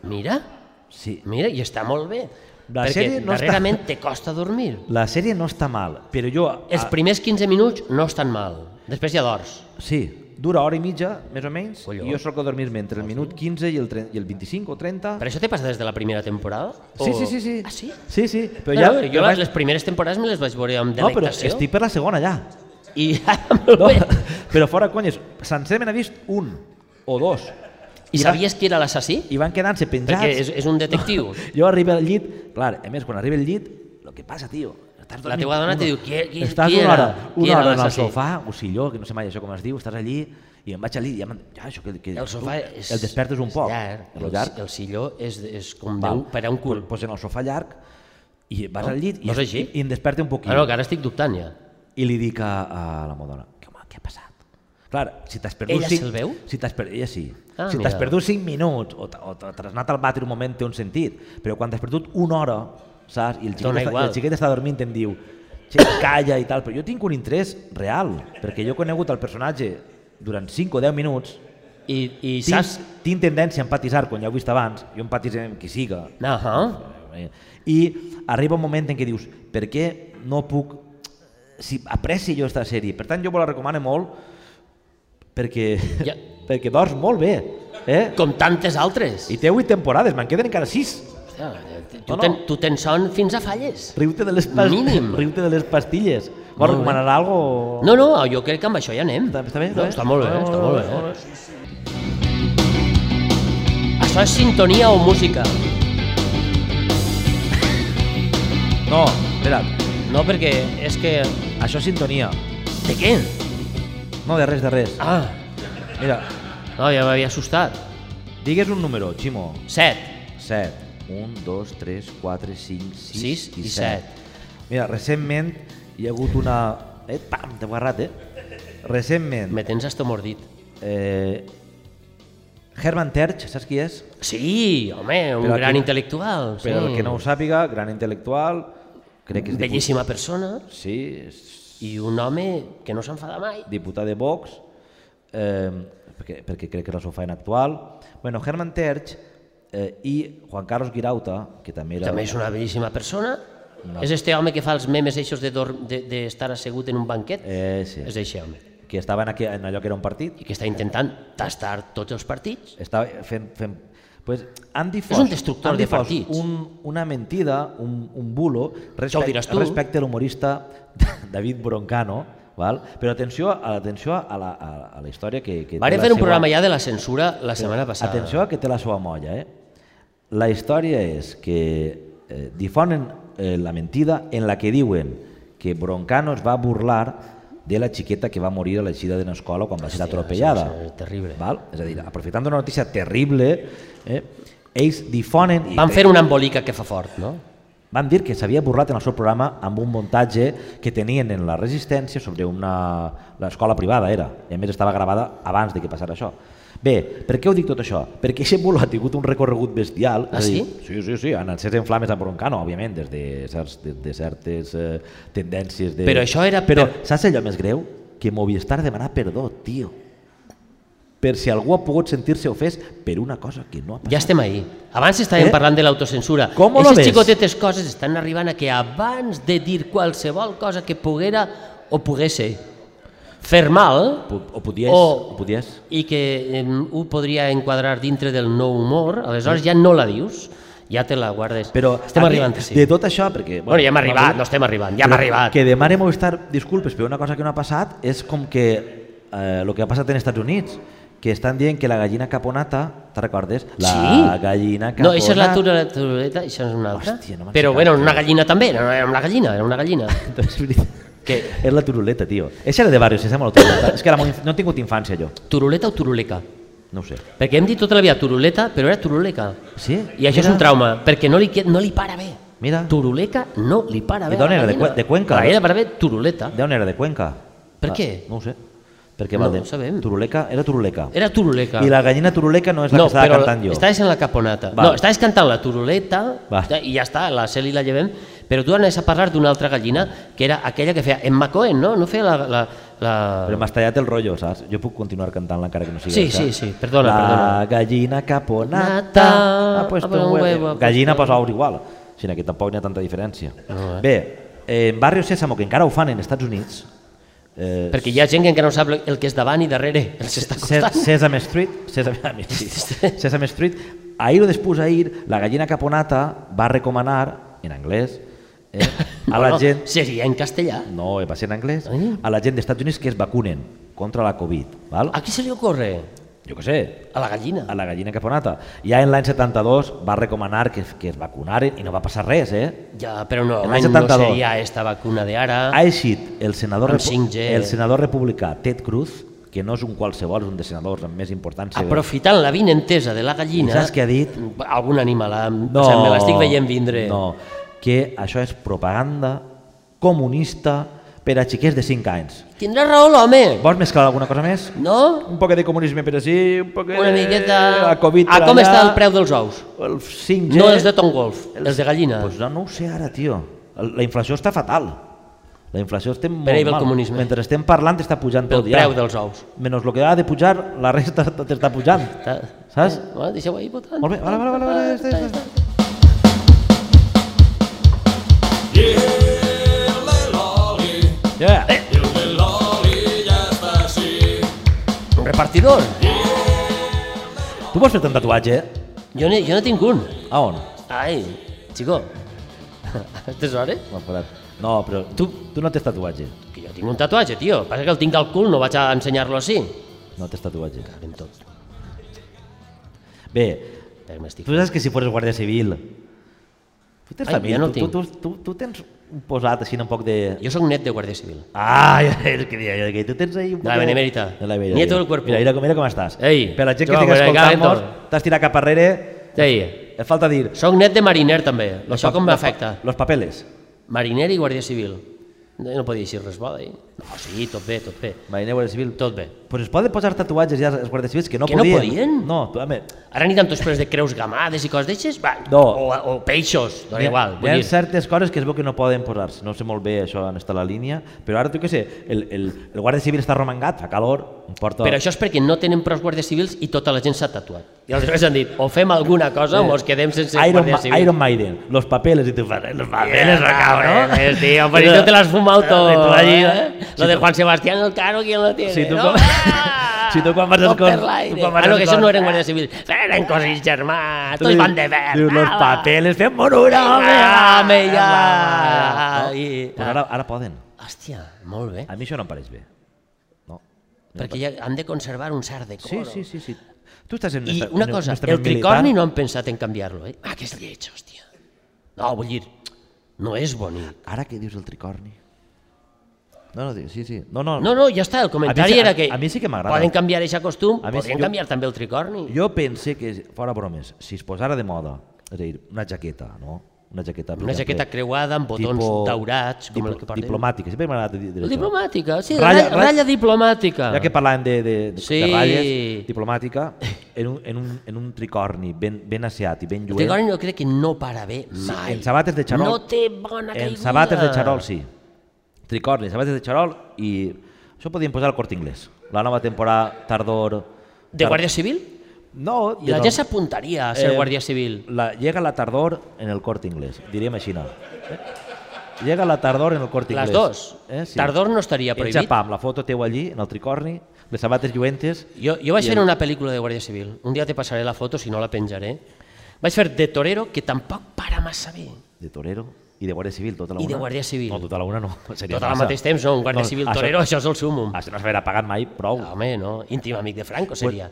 Mira,
Sí.
mira, i està molt bé.
La sèrie
perquè
no està- Ah.
darrerament te costa dormir.
La sèrie no està mal, però jo...
Els primers 15 minuts no estan mal. Després ja dors.
Sí, dura hora i mitja, més o menys,
Colló.
i jo sóc a dormir-me entre el
Ah,
minut 15 i el, tre- i el 25 o 30.
Però això te passa des de la primera temporada?
Sí, sí, sí, sí.
Ah, sí?
Sí, sí,
Però
però ja...
no, jo
però
les, les primeres temporades me les vaig veure amb
No, però
delectació.
estic per la segona ja.
I ja, molt
No,
bé.
però fora conyes, sencer me n'ha vist un o dos.
I
va-
sabies qui era l'assassí?
I van quedant-se
Perquè
penjats.
és, és un detectiu.
Jo arribo al llit, clar, a més, quan arriba al llit, el que passa, tio, estàs
La
dormint
teua dona
una-
te diu, "Qui- qui-
estàs
qui era?
una hora,
Qui
una
era
hora en el
l'assassí?"
sofà, ocilló, que no sé mai això com es diu, estàs allí, i em vaig allí, i ja, me'n- ja això que, que
El sofà és...
el despertes un
és
poc,
Llarg.
el
El,
llarg,
el silló és, és com
val.
Val. per a un cul.
Pues en el sofà llarg, i vas
No,
al llit,
no és
i,
així.
i em desperta un poquit,
Ah, no, que ara estic dubtant ja.
i li dic a, a la meva dona, que home, què ha passat? Clar, si t'has perdut...
Ella
cinc-
se'l veu?
Si t'has perdut, ella sí.
Ah,
si
mira.
t'has perdut 5 minuts o, t- o t- t'has anat al vàter un moment té un sentit, però quan t'has perdut una hora, saps? I el xiquet,
Dona
està, i
igual.
el xiquet està dormint em diu, "Che, calla i tal, però jo tinc un interès real, perquè jo he conegut el personatge durant 5 o 10 minuts,
I, i
tinc,
saps...
tinc tendència a empatitzar, com ja heu vist abans, jo empatitzo amb qui siga,
No, ah,
Eh, I arriba un moment en què dius, per què no puc... Si apreci jo aquesta sèrie. Per tant, jo me la recomano molt perquè,
Ja.
perquè dors molt bé. Eh?
com tantes altres.
I té 8 temporades, me'n queden encara 6.
Hòstia,
No,
tu,
no.
ten, tu tens son fins a falles.
Riu-te de, les pas...
Mínim.
Riu-te de les pastilles. Vols
bé.
recomanar alguna cosa?
No, no, jo crec que amb això ja anem.
Està- està bé,
No,
està
està
bé.
molt bé,
Molt bé,
està
molt
molt
bé,
bé. eh? Això és sintonia o música?
No, espera.
No, perquè és que...
Això és sintonia.
De què?
No, de res, de res.
Ah,
Mira,
no, ja m'havia assustat.
digues un número, Ximo.
Set.
7. 1, 2, 3, 4, 5, 6,
Sis
i
i
7. Mira, recentment hi ha hagut una... Eh, pam, t'he agarrat, eh? Recentment,
Me tens estomordit.
eh, Herman Terch, saps qui és?
Sí, home, un
Però
gran
aquí-
intel·lectual. Sí.
Per al que no ho sàpiga, gran intel·lectual, crec que és diputat,
Bellíssima persona
sí, és
i un home que no s'enfada mai.
diputat de Vox, eh, perquè, perquè crec que és la seva feina actual. Bueno, Herman Terch eh, i Juan Carlos Guirauta, que també era...
També és una bellíssima persona.
No.
És este home que fa els memes eixos de dor- de- d'estar de, assegut en un banquet.
Eh, sí.
És este home.
Que estava en, aqu- en allò que era un partit,
I que està intentant tastar tots els partits.
estava fent... fent pues, han difós,
És un destructor
han
de
difós
partits.
Un, una mentida, un, un bulo,
Això ho
respecte,
diràs tu.
respecte a l'humorista David Broncano, val? però atenció, a, atenció a, la, a, a la història que... que té
Varen
la
fer un
seva-
programa ja de la censura la setmana passada.
Atenció a que té la seva molla, eh? La història és que eh, difonen eh, la mentida en la que diuen que Broncano es va burlar de la xiqueta que va morir a l'eixida d'una escola quan va ser
Hòstia,
atropellada.
això és terrible.
Val? És a dir, aprofitant una notícia terrible, eh, ells difonen... i
Van fer una embolica que fa fort, no?
van dir que s'havia burlat en el seu programa amb un muntatge que tenien en la resistència sobre una l'escola privada era, i a més estava gravada abans de que passara això. Bé, per què ho dic tot això? Perquè aquest bulo ha tingut un recorregut bestial.
Ah,
és a dir,
sí?
Sí, sí, sí, han encès en flames a Broncano, òbviament, des de, certs, de, de certes eh, tendències. De...
Però això era
Però
per-
saps allò més greu? Que Movistar demanar perdó, tio. Per si algú ha pogut sentir-se ofès per una cosa que no ha passat.
Ja estem ahí. Abans estàvem
Eh?
eh? parlant de l'autocensura.
Com ho
Aquestes
ves?
xicotetes coses estan arribant a que abans de dir qualsevol cosa que poguera o pogués fer mal,
Po- O podies,
O-
o podies.
i que eh, ho podria enquadrar dintre del nou humor, aleshores ja no la dius, ja te la guardes.
Però
estem
a mi,
arribant, sí.
De tot això, perquè...
Bueno, ja hem arribat, no estem arribant, ja hem
però
arribat.
Que demane Movistar disculpes per una cosa que no ha passat és com que eh, el que ha passat en Estats Units, que estan dient que la gallina caponata, te recordes? La
Sí.
gallina caponata...
No, això és la turuleta, això és una altra.
Hòstia, no me'n
Però
sé
bueno,
cap,
una
tio.
gallina també, no era una gallina, era una gallina.
Doncs, és veritat.
Què?
És la turuleta, tio. És era de barri, se sembla la turuleta. és que la, meva inf- no he tingut infància, jo.
Turuleta o turuleca?
No ho sé.
Perquè hem dit tota la vida turuleta, però era turuleca.
Sí?
I això és un trauma, perquè no li, que- no li para bé.
Mira,
Turuleca no li para
I
bé. a
d'on
la
era? De
gallina.
Cue- de Cuenca?
La gallina para bé, turuleta.
d'on era? De Cuenca?
Per
Ah,
què?
No ho sé. Perquè
No
Valde-
ho sabem.
Turuleca? Era turuleca.
Era turuleca.
I la gallina turuleca no és la
no,
que estava
però
cantant jo.
estaves en la caponata.
Val.
No, estaves cantant la turuleta
Va.
ja- i ja està, la Cel i la llevem, però tu anaves a parlar d'una altra gallina que era aquella que feia Emma Cohen, no? No feia la... la, la...
Però m'has tallat el rotllo, saps? Jo puc continuar cantant encara que no sigui
Sí,
aquesta.
sí, sí, perdona,
La
perdona.
gallina caponata
Nata,
ha puesto
ha puesto
un
un
huevo.
huevo, ha puesto
Gallina
un-
posa ous igual. O sigui que tampoc n'hi ha tanta diferència.
No, eh?
Bé, eh, en Barrio Sésamo, que encara ho fan en Estats Units, eh,
Perquè hi ha gent que encara no sap el que és davant i darrere, els està
Se-
costant.
Sesame Street, Sesame, sí, Sesame Street, ahir o després ahir, la gallina caponata va recomanar, en anglès, eh, a la
Bueno,
gent...
Seria en castellà.
No, eh, va ser en anglès.
Ai.
A la gent d'Estats Units que es vacunen contra la Covid. Val?
A qui se li ocorre?
Jo què sé,
A la gallina.
a la gallina caponata. Ja en l'any 72 va recomanar que, que es vacunaren i no va passar res, eh?
Ja, però no,
En l'any
no
72.
seria esta vacuna de ara.
Ha eixit el senador,
Amb
repu-
5G.
el senador republicà Ted Cruz, que no és un qualsevol, és un dels senadors amb més importància.
Aprofitant la vinentesa de la gallina...
I saps què ha dit?
Algun animal, no, o sigui, me l'estic veient vindre.
No, que això és propaganda comunista per a xiquets de 5 anys.
Tindrà raó l'home,
Vols mesclar alguna cosa més?
no?
Un poc de comunisme per així, un poc
Una miqueta...
Eh, La Covid
a
per
com
allà,
està el preu dels ous?
El 5G...
No els de Tom Wolf, els de gallina.
Pues Doncs no, no ho sé ara, tio. El- La inflació està fatal. La inflació estem molt
ahí ve el
mal.
comunisme.
Mentre estem parlant està pujant
Pel
tot ja.
preu dels ous.
Menys el que ha de pujar, la resta t'està pujant.
Està-
Saps?
Bueno, Deixeu ahir votant.
Molt bé, vale, vale, vale, vale. este, este, este. Yeah.
Un repartidor.
Tu vols fer un tatuatge?
Jo, ne, jo no tinc un.
A on?
Ai, xico. Aquestes hores?
M'ha parat. No, però tu, tu no tens tatuatge.
Que jo tinc un tatuatge, tio. Passa que el tinc al cul, no vaig a ensenyar-lo així.
No tens tatuatge.
Caguem tot.
Bé,
Perquè m'estic...
tu saps que si fos guàrdia civil... Tu tens
Ai,
família,
ja no el
tu,
tinc.
tu, tu, tu, tu tens un posat així un poc de...
Jo sóc net de Guàrdia Civil.
Ah, ja sé el que dia, ja que tu tens ahí un
De la
poc
benemèrita.
De la benemèrita.
Nieto del cuerpo.
Mira, mira, com, mira com estàs.
Ei, eh,
per la gent que
Joan,
estigui
mira,
escoltant-nos,
Gaeto.
t'has tirat cap arrere,
Deia,
et falta dir...
sóc net de mariner també.
los
Això
pa-
com
los pa-
m'afecta?
Los papeles.
Mariner i Guàrdia Civil. No no podia dir res bo, eh? No, sí, tot bé, tot bé.
Mariner, Guàrdia Civil...
Tot bé.
Pues es poden posar tatuatges ja els guàrdies civils que no
Que no
podien.
podien?
No, home,
Ara aniran tots presos de creus gamades i coses d'aixes? Va,
No.
O, o peixos, dona
Hi ha-
igual.
Hi ha
Vull dir,
certes coses que es veu que no poden posar-se. No sé molt bé això on està la línia, però ara tu què sé, el, el, el guàrdia civil està romangat, fa calor, em porta...
però això és perquè no tenen prou guàrdies civils i tota la gent s'ha tatuat. I aleshores han dit, o fem alguna cosa o ens quedem sense
Iron,
guàrdia
Ma
civil.
Iron Maiden, los papeles, i tu fas, eh, los papeles,
Vienes
yeah,
cabrón,
cabrón.
eh, tío, pero si tú te las has fumado todo.
Eh, tú allí,
¿eh?
eh.
Lo
Si
de
tú-
Juan Sebastián el Caro, ¿quién lo tiene?
Si tú
no?
com-
Ah,
si tú com vas als
tot per
cons-
l'aire.
tu com vas
Ah, no,
als
que això
cons-
no eren guàrdies civils. Eren cosins germans, tots van de verd.
Dius, los
ala.
papeles, fem monura, home,
Ah, home,
home,
ja.
home, home,
I-
Però ara, ara poden.
Hòstia, molt bé.
A mi això no em pareix bé. No.
Perquè ja han de conservar un cert decoro.
Sí, sí, sí, sí. Tu estàs en
I
nostre-
una
en
cosa,
nostre
el
militar.
tricorni no han pensat en canviar-lo, eh? Ah, que és lleig, hòstia. No, vull dir, no és bonic.
Ara què dius del tricorni? No, no, sí, sí. No, no.
No, no, ja està, el comentari
A mi sí-
era
a-
que...
a mi sí que m'agrada.
Poden canviar aquest costum,
A mi sí,
podrien
jo-
canviar també el tricorni.
Jo pense que, fora bromes, si es posara de moda, és a dir, una jaqueta, no? Una jaqueta, per
Una
exemple,
jaqueta creuada amb botons daurats, com el que parlem.
Diplomàtica, sempre m'ha agradat dir dir això.
Diplomàtica, sí,
Ratlla-
ratlla,
ratlla-
ratlla diplomàtica.
Ja que parlàvem de, de, de,
Ah. Sí.
de ratlles, diplomàtica, en un, en un, en un tricorni ben, ben asseat i ben
El
lluent,
tricorni jo crec que no para bé mai.
en sabates de xarol.
No té bona caiguda.
en sabates de xarol, sí. Tricorni, sabates de xarol i... Això podien posar al Cort Inglés. La nova temporada, tardor...
De
tar-
Guàrdia Civil?
No,
I la
no.
gent s'apuntaria a ser
Eh,
Guàrdia Civil.
La, llega la tardor en el Corte Inglés, diríem així, no? Eh? Llega la tardor en el Corte
Les
Inglés. Eh,
dos. Tardor no estaria prohibit.
Ets a pam, la foto teu allí, en el tricorni, les sabates lluentes...
Jo, jo vaig
I
fer
el-
una pel·lícula de Guàrdia Civil. Un dia te passaré la foto, si no la penjaré. Vaig fer de torero, que tampoc para massa bé.
De torero i de guàrdia civil, tota la
I
una.
de guàrdia civil.
No, tota la una no. Seria
Tot al
massa.
mateix temps, no? Un Guàrdia
No,
Civil
això-
torero, això és el súmum.
Això no s'haurà pagat mai, prou.
Home, no, íntim amic de Franco seria.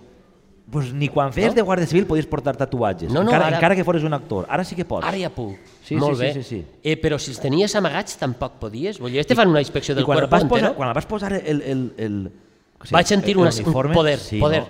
Pues ni quan feies
No?
de guàrdia civil podies portar tatuatges,
No, no,
encara,
ara-
encara que fores un actor. Ara sí que pots.
Ara ja puc.
Sí,
Molt
sí,
bé.
sí, sí, sí.
Eh, però si els tenies amagats tampoc podies. Vull dir, este fan una inspecció
I
del
quan el
cuerpo
vas posar,
entero.
quan el vas posar el... el, el o
Vaig sentir
el
una- un poder, poder.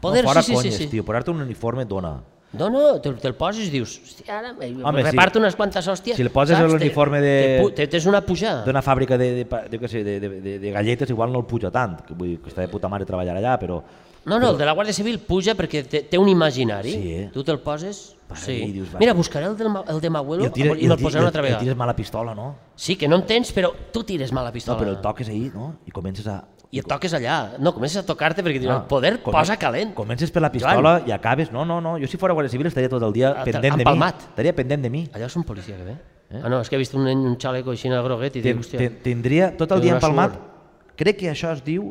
Poder,
no, fora
sí, sí, sí,
conyes,
sí.
tio, posar-te un uniforme dona.
No, no, te'l te poses i dius, hòstia, ara Home,
Home, sí.
reparto unes quantes hòsties.
Si el poses
saps? Te-
en l'uniforme de-
te pu- te- Tens una pujada.
D'una fàbrica de, de, pa- jo què sé, de, de, de, de galletes igual no el puja tant, que vull dir que està de puta mare treballar allà, però...
No, no, el de la Guàrdia Civil puja perquè té, té un imaginari.
Sí, eh?
Tu te'l poses...
Vale,
sí.
i dius, vale.
Mira, buscaré el, del, Ma- el de Maguelo i,
tira-
i me'l
ti-
posaré una altra
i el
vegada.
tires mala pistola, no?
Sí, que no en tens, però tu tires mala
No,
pistola.
però el toques ahir, no? I comences a...
Ah. I et toques allà. No, comences a tocar-te perquè dius,
Ah,
el poder
comen-
posa calent.
Comences per la pistola i acabes... No, no, no, jo si fora Guàrdia Civil estaria tot el dia
Ah,
pendent de mi.
empalmat. Ah,
Estaria pendent de mi.
Allà és un policia que ve. Eh? Ah, no, és que he vist un, nen, un xaleco així a groguet i dic,
Ten,
hòstia...
ten, tindria tot el
Té
dia
una
empalmat.
sort.
Crec que això es diu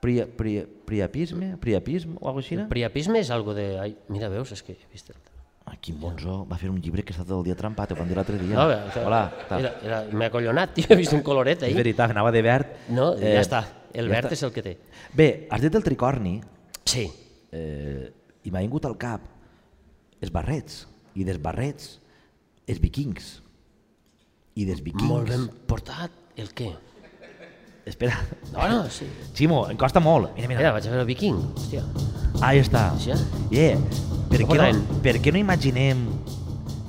pri, pri, priapisme, priapisme o alguna cosa així.
Priapisme és algo de... Ai, mira, veus, és que he vist... El...
Ah, quin bonzó, va fer un llibre que està tot el dia trampat, ho van dir l'altre dia.
No, bé, això-
Hola, tal.
era, era, m'he acollonat, tio, he vist un coloret
És
ahir.
veritat, anava de verd. Eh,
No, ja està, el
ja
verd
està.
és el que té.
Bé, has dit el tricorni
Sí,
eh, i m'ha vingut al cap els barrets i dels barrets els vikings i dels vikings.
molt ben portat. El què?
Espera.
No, no, sí.
Ximo, em costa molt. Mira, mira.
Mira, vaig a veure Viking, hòstia.
Ahí està.
Sí, eh?
Yeah. Per,
Ho
què
podem.
no, per què no imaginem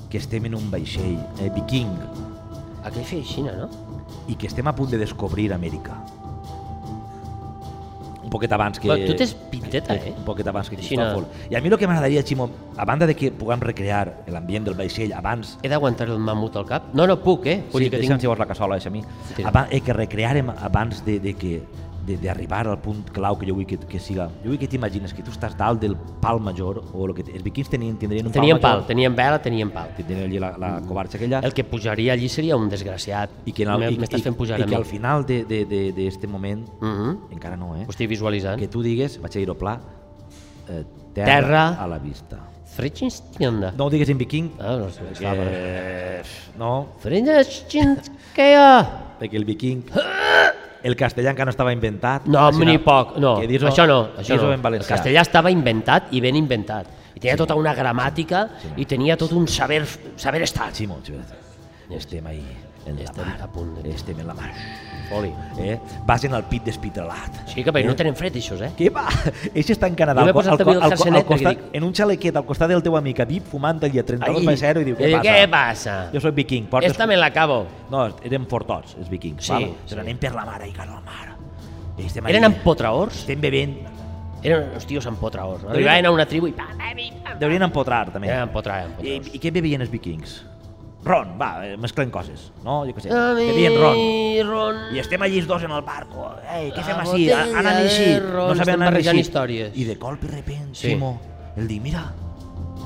que estem en un vaixell eh, viking
Aquell feia Xina, no?
i que estem a punt de descobrir Amèrica? Un poquet abans que...
Però tu tens pinteta, eh?
Un poquet abans que
Així no.
Cristòfol. I a mi el que m'agradaria, Ximo, a banda de que puguem recrear l'ambient del vaixell abans...
He d'aguantar el mamut al cap? No, no puc, eh? Vull
sí,
dir que
deixa'm
tinc...
si vols la cassola, deixa a mi.
Tira.
Abans, eh, que recrearem abans de, de que de- d'arribar al punt clau que jo vull que, que siga. Jo vull que t'imagines que tu estàs dalt del pal major o el que... Els vikings tenien, tindrien un
Teníem
pal major.
pal, teníem vela, teníem pal.
tindrien allí la, la covarxa aquella
El que pujaria allí seria un desgraciat.
i que, en el,
M'he-
i,
M'estàs
i,
fent pujar
i
a
que
mi.
al final d'aquest moment
Mhm.
encara no, eh?
Ho estic visualitzant.
que tu digues, vaig a dir-ho pla eh, terra,
Terra.
a la vista
Frechinskianda.
no ho digues en viking
Ah, no sé. Que...
perquè, no,
Frechinskianda.
perquè el viking el castellà encara no estava inventat
No,
Així
ni poc, no.
que dis-ho-
això no, això
dis-ho
no.
en
El
valencià
castellà estava inventat i ben inventat. I tenia tota una gramàtica i tenia tot un saber, saber estar.
Ximo, Ximo. Ah, estem ahí, en la
Estem
mar.
a punt de-
Estem en la mar.
Oli.
Eh? Vas en el pit despitrelat.
Sí, que bé, no tenen fred, això, eh?
Què va? Eix està en Canadà.
Jo m'he
al co-
posat
al co-
també el
al co-
calçonet,
al costat,
perquè dic-
en un xalequet al costat del teu amic, a VIP, fumant allà a 32 per 0 i diu,
I
què
diu,
passa?
eh, què passa?
Jo soc viking, portes...
Esta me la acabo.
No, érem fortots, els vikings.
Sí,
val?
sí.
Però anem per la mar, ai, cara, la mar. I estem
Eren
allà.
empotraors?
Estem bevent.
Eren uns tios empotraors. No? Arribaven a una tribu i... pa, pa, pa, pa.
Deurien empotrar, també.
Eren empotraors.
I,
empotraors.
I què bevien els vikings? Ron, va, eh, mesclem coses, no? Jo què sé,
Ai,
bevien Ah, ron.
ron.
I estem allí els dos en el barco. Ei, què
La
fem així?
botella
Anem
de
així.
ron,
No
estem
sabem anar
barrejant
així.
històries.
I de colp i repent,
Sí.
sí. Ximo, el dir, mira,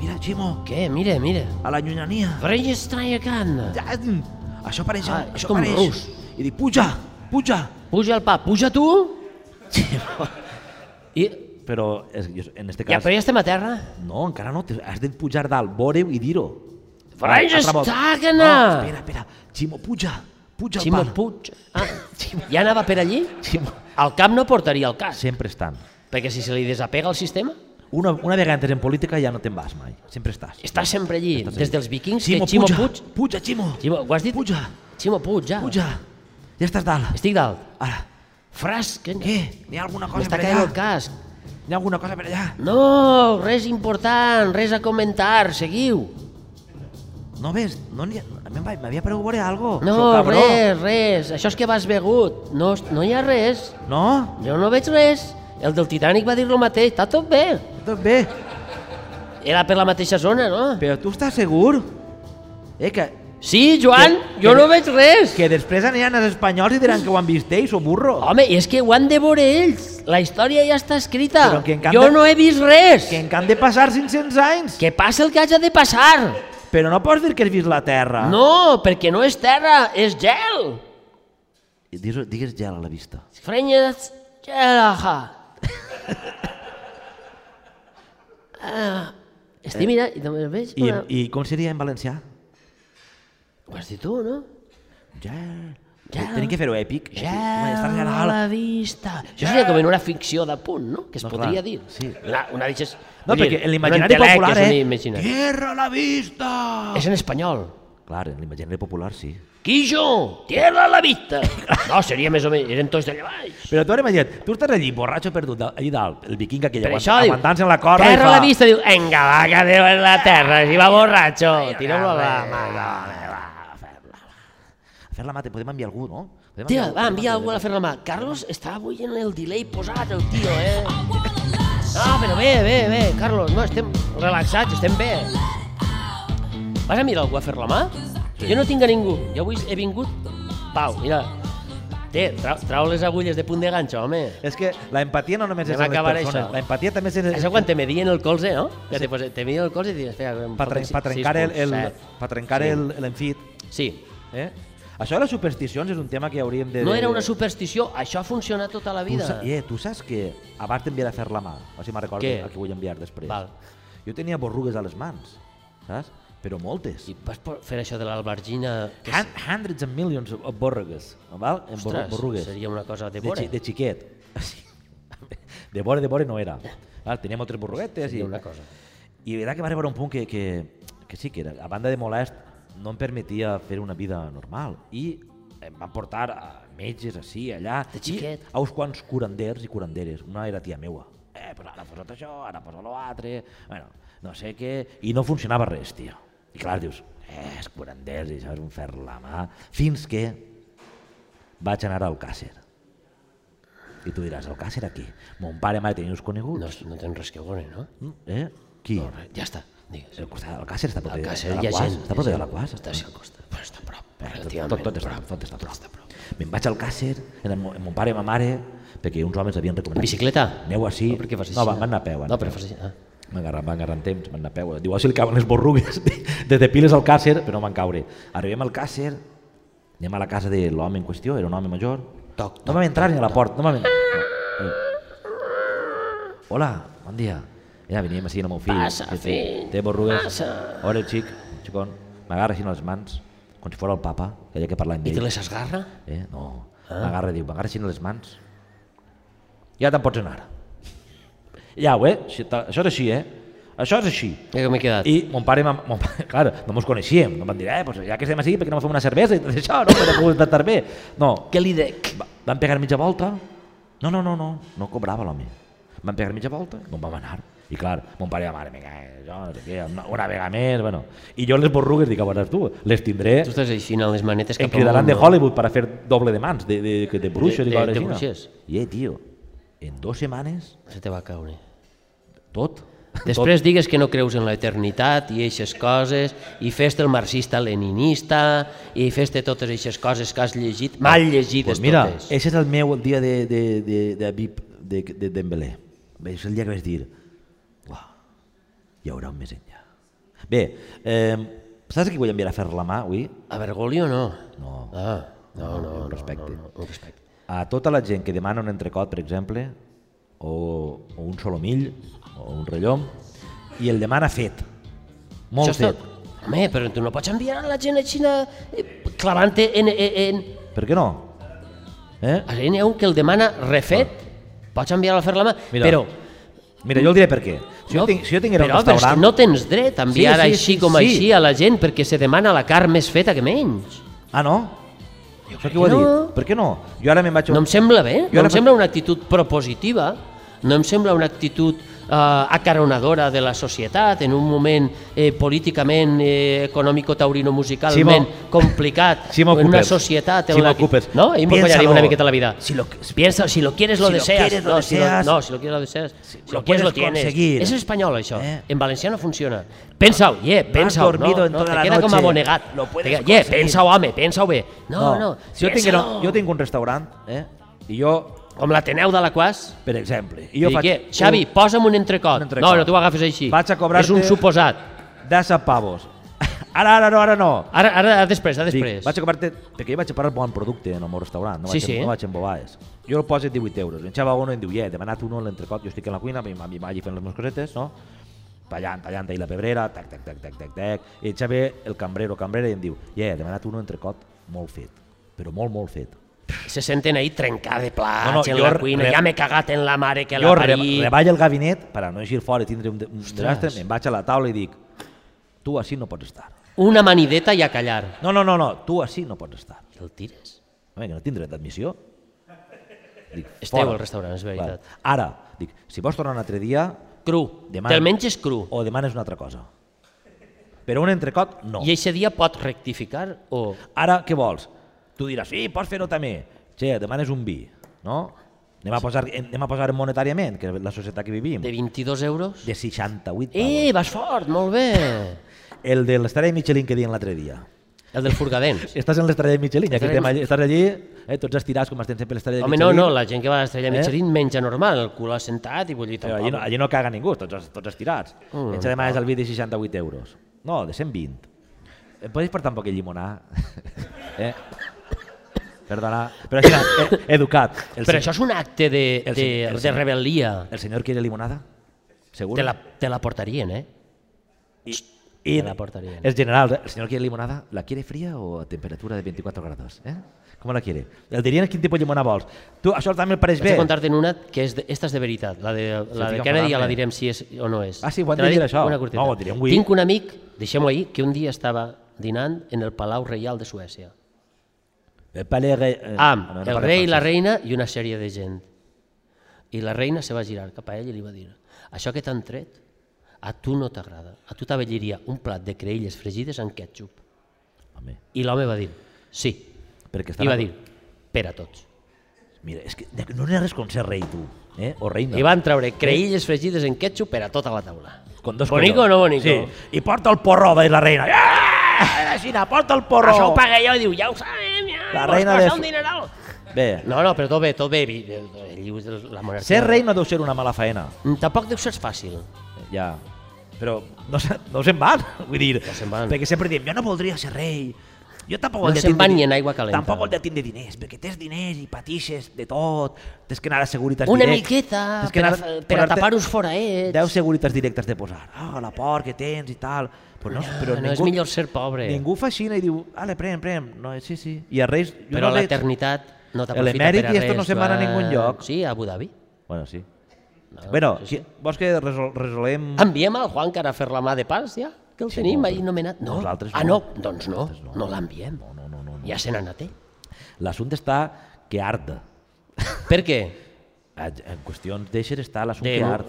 mira, Ximo,
Què? Mira, mira.
a la llunyania.
Freia estranya cana.
Ja, Això pareix,
Ah, és
això
com
pareix.
rus.
I dic, puja, puja.
Puja el pa, puja tu.
Ximo.
I...
Però és, jo- en este
Ja,
cas...
però ja estem a terra.
No, encara no, te- has de pujar dalt, veure-ho i dir-ho.
Freia
Altra volta.
estragana.
No, espera, espera. Ximo, puja, puja
Ximo
el pal.
Puig. Ah, ja anava per allí?
Ximo,
El cap no portaria el cas,
sempre estan.
perquè si se li desapega el sistema,
Una, una vegada entres en política ja no te'n vas mai, sempre estàs.
està sempre allí, des dels vikings,
Ximo,
que Ximo
puja,
Puig...
Puja, Ximo.
Ximo, ho has dit?
Puja,
Ximo Puig, ja.
puja. Ja estàs dalt.
Estic dalt.
Ara,
Fras, que...
què? N'hi ha alguna cosa
M'està
per
caient el
allà?
casc.
N'hi ha alguna cosa per allà?
No, res important, res a comentar, seguiu.
No ves? No n'hi ha... a mi em va- M'havia paregut veure algo.
No,
Sóc cabró.
res, res, això és que vas begut. No, no hi ha res,
No?
jo no veig res. El del Titanic va dir el mateix, està tot bé.
Tot Doncs bé.
Era per la mateixa zona, no?
Però tu estàs segur? Eh, que...
Sí, Joan,
Que-
jo
que-
no veig res.
Que després aniran els espanyols i diran que ho han vist ells, o burro.
Home, és que ho han de veure ells. La història ja està escrita.
Però que en canvi-
Jo no he vist res.
Que en han de passar 500 anys.
Que passa el que haja de passar.
Però no pots dir que has vist la Terra.
No, perquè no és terra, és gel.
Digues, digues gel a la vista.
Frenyes gelaja. Uh, estic mirant i també veig
I,
una...
i com seria en valencià?
Ho has dit tu, no?
Gel.
Gel.
Tenim que fer-ho èpic. èpic. Home, estàs
Gel
allà
a
dalt.
la vista. Això seria com en una ficció de punt, no? Que es
No,
podria
clar,
dir.
sí.
Una, una d'aixes... vull
No,
dir,
perquè en
un
l'imaginari
entelec
popular,
és un
eh?
imaginari.
Tierra a la vista!
És en espanyol.
Clar, en l'imaginari popular, sí.
Quillo, tierra a la vista. No, seria més o menys, eren tots d'allà baix.
Però tu ara imagina't, tu estàs allí, borratxo perdut, allí dalt, el viking aquell
Per
aguant-
això diu,
aguantant-se en la corda i
terra
fa...
a la vista, diu, venga, va, que Déu és la terra, si va borratxo, tireu-lo a la mà.
A fer la mà, te podem enviar algú, no? Podem
Tira,
algú,
va,
podem
envia algú a fer la mà. Carlos està avui en el delay posat, el tio, eh? No, però bé, bé, bé, Carlos, no, estem relaxats, estem bé. Vas a mirar algú a fer la mà? Jo no tinc a ningú, jo avui he vingut... Pau, mira, té, trau, trau les agulles de punt de ganxo, home.
És que la empatia no només
Anem
és
a
en les
acabar
persones,
això.
la empatia també és en...
Això quan te medien el colze, no? Que te, posa- te medien el colze i dius, espera, em
Per,
falten
tren,
sis-
per trencar
sis
el, el,
punts, set.
per trencar
Sí.
el, l'enfit,
Sí.
eh? Això de les supersticions és un tema que hauríem de...
No era una superstició, això ha funcionat tota la
Tu,
vida.
sa- eh, tu saps que abans t'enviar a fer la mà, o sigui, me'n recordo
Què?
el que vull enviar després.
Val.
Jo tenia borrugues a les mans, saps? Però moltes.
I vas po- fer això de l'albergina... que
Hun- Hundreds and millions of borrugues, val? En borru-
Ostres,
borrugues.
seria una cosa de
De,
vore.
xi- de xiquet. Sí. De vore, de vore no era. Val? Teníem altres borruguetes i...
Seria una cosa.
I la veritat que va arribar un punt que, que, que sí, que era, a banda de molest, no em permetia fer una vida normal. I em van portar a metges, així, allà...
De xiquet.
I a uns quants curanders i curanderes. Una era tia meua. Eh, però ara posa't això, ara posa l'altre... Bueno, no sé què... I no funcionava res, tio. I clar, dius, eh, els curanders, i això és un fer la mà... Fins que vaig anar al Càcer. I tu diràs, el Càcer aquí. Mon pare i mare tenien uns coneguts.
No, no tens res que veure, no?
No. Eh? Qui? No,
Ja està, digues.
el costat del Càcer està a prop
Al
de
Càcer
de
hi ha
l'Aquas,
gent.
Està a prop de l'Aquas.
Està sí, al costat. Però està a prop, relativament.
Tot, tot, està a prop, tot està a prop. Me'n vaig al Càcer, en el, mo- amb mon pare i ma mare, perquè uns homes havien
En
recomanat.
bicicleta?
Aneu així.
No, per què fas així?
No, va- van anar a peu. van
No,
a
però
peu.
fas així. Ah.
Van agarrar, van agarrant temps, van anar a peu. Diu, "Ah, si li caben les borrugues, des de piles al Càcer, però no van caure. Arribem al Càcer, anem a la casa de l'home en qüestió, era un home major.
Toc,
no vam entrar ni a la porta, no vam entrar. No. Eh. Hola, bon dia. Ja veníem així amb el meu fill.
Passa,
que té-
fill,
Té borrugues.
passa.
Hola, xic, xicon. M'agarra així a les mans, com si fos el papa, que hi ha que parlar amb
I
ell.
te les esgarra?
Eh? No. Ah. M'agarra i diu, m'agarra així a les mans. Ja te'n pots anar. Ja ho, eh? Així, ta- Això és així, eh? Això és així.
Ja que m'he quedat. I...
I mon pare, i ma- mon pare clar, no mos coneixíem, no em van dir, eh, pues ja que estem així, perquè no fem una cervesa i tot això, no? Per pogut estar bé. No,
Què li dec?
va- van pegar mitja volta, no, no, no, no, no cobrava l'home. Van pegar mitja volta, no vam anar. I clar, mon pare i la mare, vinga, eh, jo no sé què, una, una vegada més, bueno. I jo les borrugues, dic, a veure, tu, les tindré,
Tu estàs així, en les manetes
em
cap
cridaran de
no?
Hollywood para fer doble de mans, de, de, de, de bruixa,
De-
dic,
de-
a veure,
de
Gina.
bruixes.
I, eh, tio, en dues setmanes,
Se te va caure.
tot,
Després digues que no creus en l'eternitat i eixes coses, i fes-te el marxista-leninista, i fes-te totes eixes coses que has llegit, mal llegides
pues mira, eh-
totes.
ese és el meu dia de, de, de, de VIP de, de Dembélé. Bé, és el dia que vaig dir, uah, hi haurà un més enllà. Bé, eh, saps que vull enviar a fer la mà avui?
A Bergoglio no.
No.
Ah, no, no, no,
un respecte.
No, no, un respecte.
A tota la gent que demana un entrecot, per exemple, o, o un solomill, o un rellom, i el demana fet, molt
Això és
fet.
tot. Home, però tu no pots enviar la gent a Xina eh, clavant-te en, en, en...
Per què no? Eh?
A gent hi ha un que el demana refet, pots enviar-lo a fer la mà,
Ah. Mira,
però...
Mira, jo el diré per què. Si, jo, tinc, si jo tinguera un
però, però és que
restaurant...
no tens dret a enviar
Sí, sí,
així
sí,
com
sí.
així a la gent perquè se demana la carn més feta que menys.
Ah, no? Això qui ho ha
que
dit?
no.
Per què no? Jo ara me'n vaig... a-
No em sembla bé,
Jo
no
ara
em sembla una actitud propositiva, no em sembla una actitud eh, acaronadora de la societat en un moment eh, políticament, eh, econòmico-taurino-musicalment
Simo-
complicat,
Simo
en una
Coopers.
societat... En
Simo
la que-
Coopers.
No? Ahí me
Piénsalo.
collaría una miqueta la vida.
Si lo-
Piensa, si lo quieres, lo
Si lo
deseas.
quieres, lo
no, si lo-
deseas.
no, si lo quieres, lo deseas. Si,
lo
lo quieres, lo
puedes
tienes.
conseguir.
Es español, això.
Eh.
En valencià no funciona. Pensa-ho, yeah, pensa-ho.
dormido
no,
en
no,
toda
te
la
queda com
noche.
abonegat.
Lo puedes
Te queda, yeah,
conseguir.
pensa-ho, home, pensa-ho bé. No, no,
Si jo, tinc,
piénsalo.
jo tinc un restaurant, eh? I jo,
Com l'Ateneu de la Quas,
per exemple... I
Jo
jo
Dic, eh, Xavi, posa'm un entrecot. un
un entrecot.
entrecot. No, no t'ho agafes així.
Vaig a cobrar-te-
És un suposat.
De pavos. Ara, ara no, ara no.
Ara, ara després, ara
Dic,
després.
vaig a cobrar-te... Perquè jo vaig a parar bon producte en el meu restaurant, no
Sí,
vaig,
sí.
no vaig amb bobades. Jo el poso a 18 euros. En Xava Bono em diu, yeah, he demanat un a l'entrecot, jo estic a la cuina, mi mami va allí fent les meves cosetes, no? Tallant, tallant, i la pebrera, tac, tac, tac, tac, tac, tac. I en Xava, el cambrero, cambrera, i em diu, yeah, he demanat un entrecot molt fet, però molt, molt fet.
Se senten ahí trencar de plats
No, no,
en
jo
la
re-
cuina.
re-
Ja m'he cagat en la mare que
jo
la
re,
parí.
reballo el gabinet per a no eixir fora i tindre un, de- un desastre, me'n vaig a la taula i dic tu així no pots estar.
Una manideta i a callar.
No, no, no, no, tu així no pots estar.
El tires?
Home, que no tinc dret d'admissió. Dic,
Esteu al restaurant, és veritat.
Clar. Ara, dic, si vols tornar un altre dia,
Cru.
Demana.
Te'l menges cru.
o demanes una altra cosa. Però un entrecot, no.
I eixe dia pots rectificar o...
Ara, què vols? Tu diràs, sí, pots fer-ho també. Che, demanes un vi, no? Anem a, posar, eh, anem a posar monetàriament, que és la societat que vivim,
De 22 euros?
de 68 pavos.
Eh, vas fort, molt bé.
El de l'estrella de Michelin que dient l'altre dia.
El del furgadens.
Estàs en l'estrella de Michelin, ja que
Estarem-
estem allí, estàs allí, eh, tots estirats com estem sempre a l'estrella de
Home,
Michelin.
no, no, la gent que va a l'estrella
Eh?
Michelin menja normal, el cul assentat i bullit
Però allí no, allí no caga ningú, tots, tots estirats.
Mm,
Mm, Ens demanes el vi de 68 euros. No, de 120. Em podeu portar un poc de llimonà? eh? Perdona, però així, eh, educat. El,
Però
se-
això és un acte de,
El
de,
senyor- el
de
senyor-
rebel·lia.
el senyor quiere limonada? Segur?
Te la, te la portarien, eh?
I, i
te la portarien.
Els generals, el senyor quiere limonada, ¿la quiere fría o a temperatura de 24 grados? Eh? Com la quiere? El dirien quin tipus de llimonada vols. Tu, això també et pareix
Vaig
bé?
a contar-te una que és de, esta és de veritat. La de, la de
fica
Kennedy
fatal,
ja la
eh?
direm si és o no és.
Ah, sí, ho han
Te la
dit
dic
això.
Una curteta.
No, ho diré avui.
Tinc un amic, deixem-ho ahir, que un dia estava dinant en el Palau Reial de Suècia.
El palais... Re... eh,
Amb
no, no
Ah, el
parlem
rei, la
francès.
reina i una sèrie de gent. I la reina se va girar cap a ell i li va dir això que t'han tret a tu no t'agrada. A tu t'avelliria un plat de creïlles fregides amb ketchup.
Home,
I l'home va dir, sí.
perquè està
I
la-
va dir, per a tots.
Mira, és que no n'hi ha res com ser rei, tu. Eh? O reina.
I van treure creïlles fregides en ketchup per a tota la taula.
Con dos
bonico o
collons.
no bonico?
Sí. I porta el porró, va dir la reina. Ah! Xina, porta el porró.
Això ho paga jo i diu, ja ho sabem, ja,
La
vols
reina
passar
de-
un dineral.
Bé,
No, no, però tot bé, tot bé. vi- eh, llius de La monarquia.
ser rei no deu ser una mala feina.
Mm, Tampoc deu ser fàcil.
Ja. Però no, se- no se'n van, vull dir.
No se'n van.
Perquè sempre diem, jo no voldria ser rei. Jo tampoc
No
voldria
se'n
tindre
van ni
di-
en aigua calenta.
Tampoc voldria tindre diners, perquè tens diners i patixes de tot, tens que anar a seguritats
Una
directes,
miqueta
tens que
per a,
anar
per eh, a
posar-te-
tapar-nos foraets.
10 seguritats directes de posar. Ah, la por que tens i tal. Però no, però
Ah, no,
ningú,
és millor ser pobre.
Ningú fa aixina i diu, ale, pren, pren. No, sí, sí. I a Reis... jo
Però
no veig-
l'eternitat no t'aprofita per a
L'emèrit
res.
i esto no se'n van a
Joan.
ningun lloc.
Sí, a Abu Dhabi.
Bueno, sí.
Ah,
No, bueno, si, vols que resol, resolem...
Enviem al Juan cara a fer la mà de pas, ja? Que el
Sí,
Ah, tenim
no,
ahir nomenat. No,
nosaltres
ah, no,
no.
doncs no,
Nosaltres
no,
no.
l'enviem.
No, no, no, no, no.
Ja se n'ha anat, eh?
L'assumpte està que arda.
Per què?
En en qüestions d'eixes està l'assumpte
De-
que ard.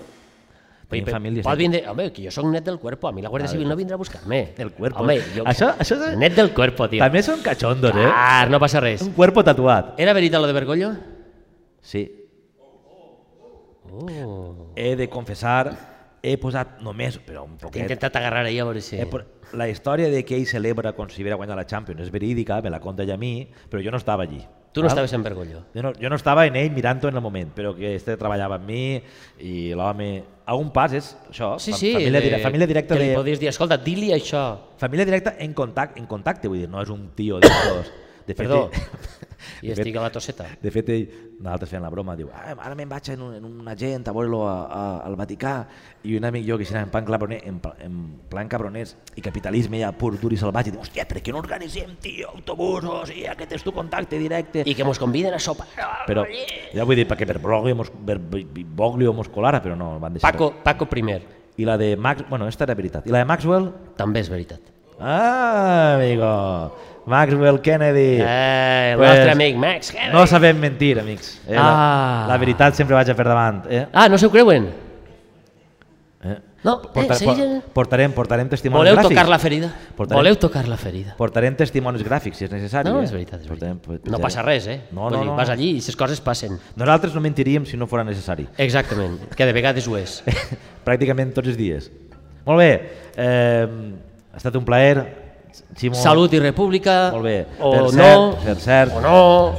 Tenim
Oye,
família.
pot
sí.
vindre, home, que jo sóc net del cuerpo, a mi la Guàrdia Civil no vindrà a buscar-me.
doncs. Del cuerpo.
Home, jo...
Això- això és-
Net del cuerpo, tio.
També són cachondos, eh?
Ah, no passa res.
Un cuerpo tatuat.
Era veritat lo de Bergoglio?
Sí.
Oh.
He de confessar, he posat només, però un
T'he
poquet,
intentat agarrar ahir a veure si...
Eh, però La història de que ell celebra com si haguera guanyat la Champions és verídica, me la conta ella a mi, però jo no estava allí.
Tu no
val?
estaves en Bergoglio.
Jo no, jo no estava en ell mirant-ho en el moment, però que este treballava amb mi i l'home... A un pas és això,
Sí,
fam-
sí.
família,
de-
dire, família directa
Que
de...
li podies dir, escolta, di-li això.
Família directa en contacte, en contacte, vull dir, no és un tio d'estos... De fet,
Perdó. I
de fet,
estic a la tosseta.
de fet, ell, nosaltres fèiem la broma, diu, ah, ara me'n vaig en un, en un agent a veure-lo a- a- al Vaticà, i un amic jo que serà en plan, cabroner, en, pla- en plan cabroners i capitalisme ja pur, dur i salvatge, diu, hòstia, per què no organitzem, tio, autobusos, i aquest és tu contacte directe.
I que mos conviden a sopar.
Però ja vull dir, perquè per Broglio, mos, per Boglio mos colara, però no, van deixar.
Paco, Paco primer.
I la de Max... Bueno, esta era veritat. I la de Maxwell?
També és veritat.
Ah, amigo! Maxwell Kennedy!
Eh, el
Pues,
nostre amic Max. Kennedy.
No sabem mentir, amics. Eh,
Ah.
la, la veritat sempre vaig a per davant. Eh?
Ah, no s'ho creuen?
Eh?
No, eh,
Porta-
segueix
por-
en-
portarem, portarem testimonis
Voleu
gràfics.
tocar la ferida?
Portarem-
Voleu tocar la ferida?
Portarem testimonis gràfics, si és necessari.
No,
eh?
és veritat, és
Portarem-
veritat.
portarem-
No passa res, eh?
No,
Vull
no,
dir,
no,
Vas
no.
allí i les coses passen.
Nosaltres no mentiríem si no fora necessari.
Exactament, que de vegades ho és.
Eh, pràcticament tots els dies. Molt bé, eh, ha estat un plaer. Ximo,
Salut i república,
Molt bé.
o
per
no,
Cert, per cert,
o no...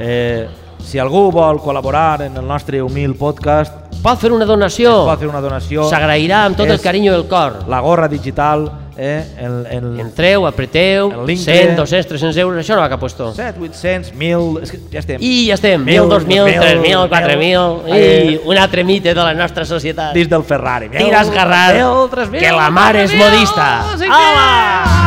eh, si algú vol col·laborar en el nostre humil podcast,
Pot fer una donació.
pot fer una donació.
S'agrairà amb tot el
És
carinyo del cor.
La gorra digital, eh, en, en,
Entreu, apreteu,
El link
100,
de-
200, 300 euros, això no va cap postó.
7, 800, 1.000... És que ja estem.
I ja estem,
Mil,
1.000, 2.000,
mil,
3.000,
mil.
4.000, i
Eh.
un altre mite de la nostra societat.
Dins del Ferrari.
Tira esgarrat,
1.000, 3.000,
que la mare és modista.
4.000, no sé què.
Hola!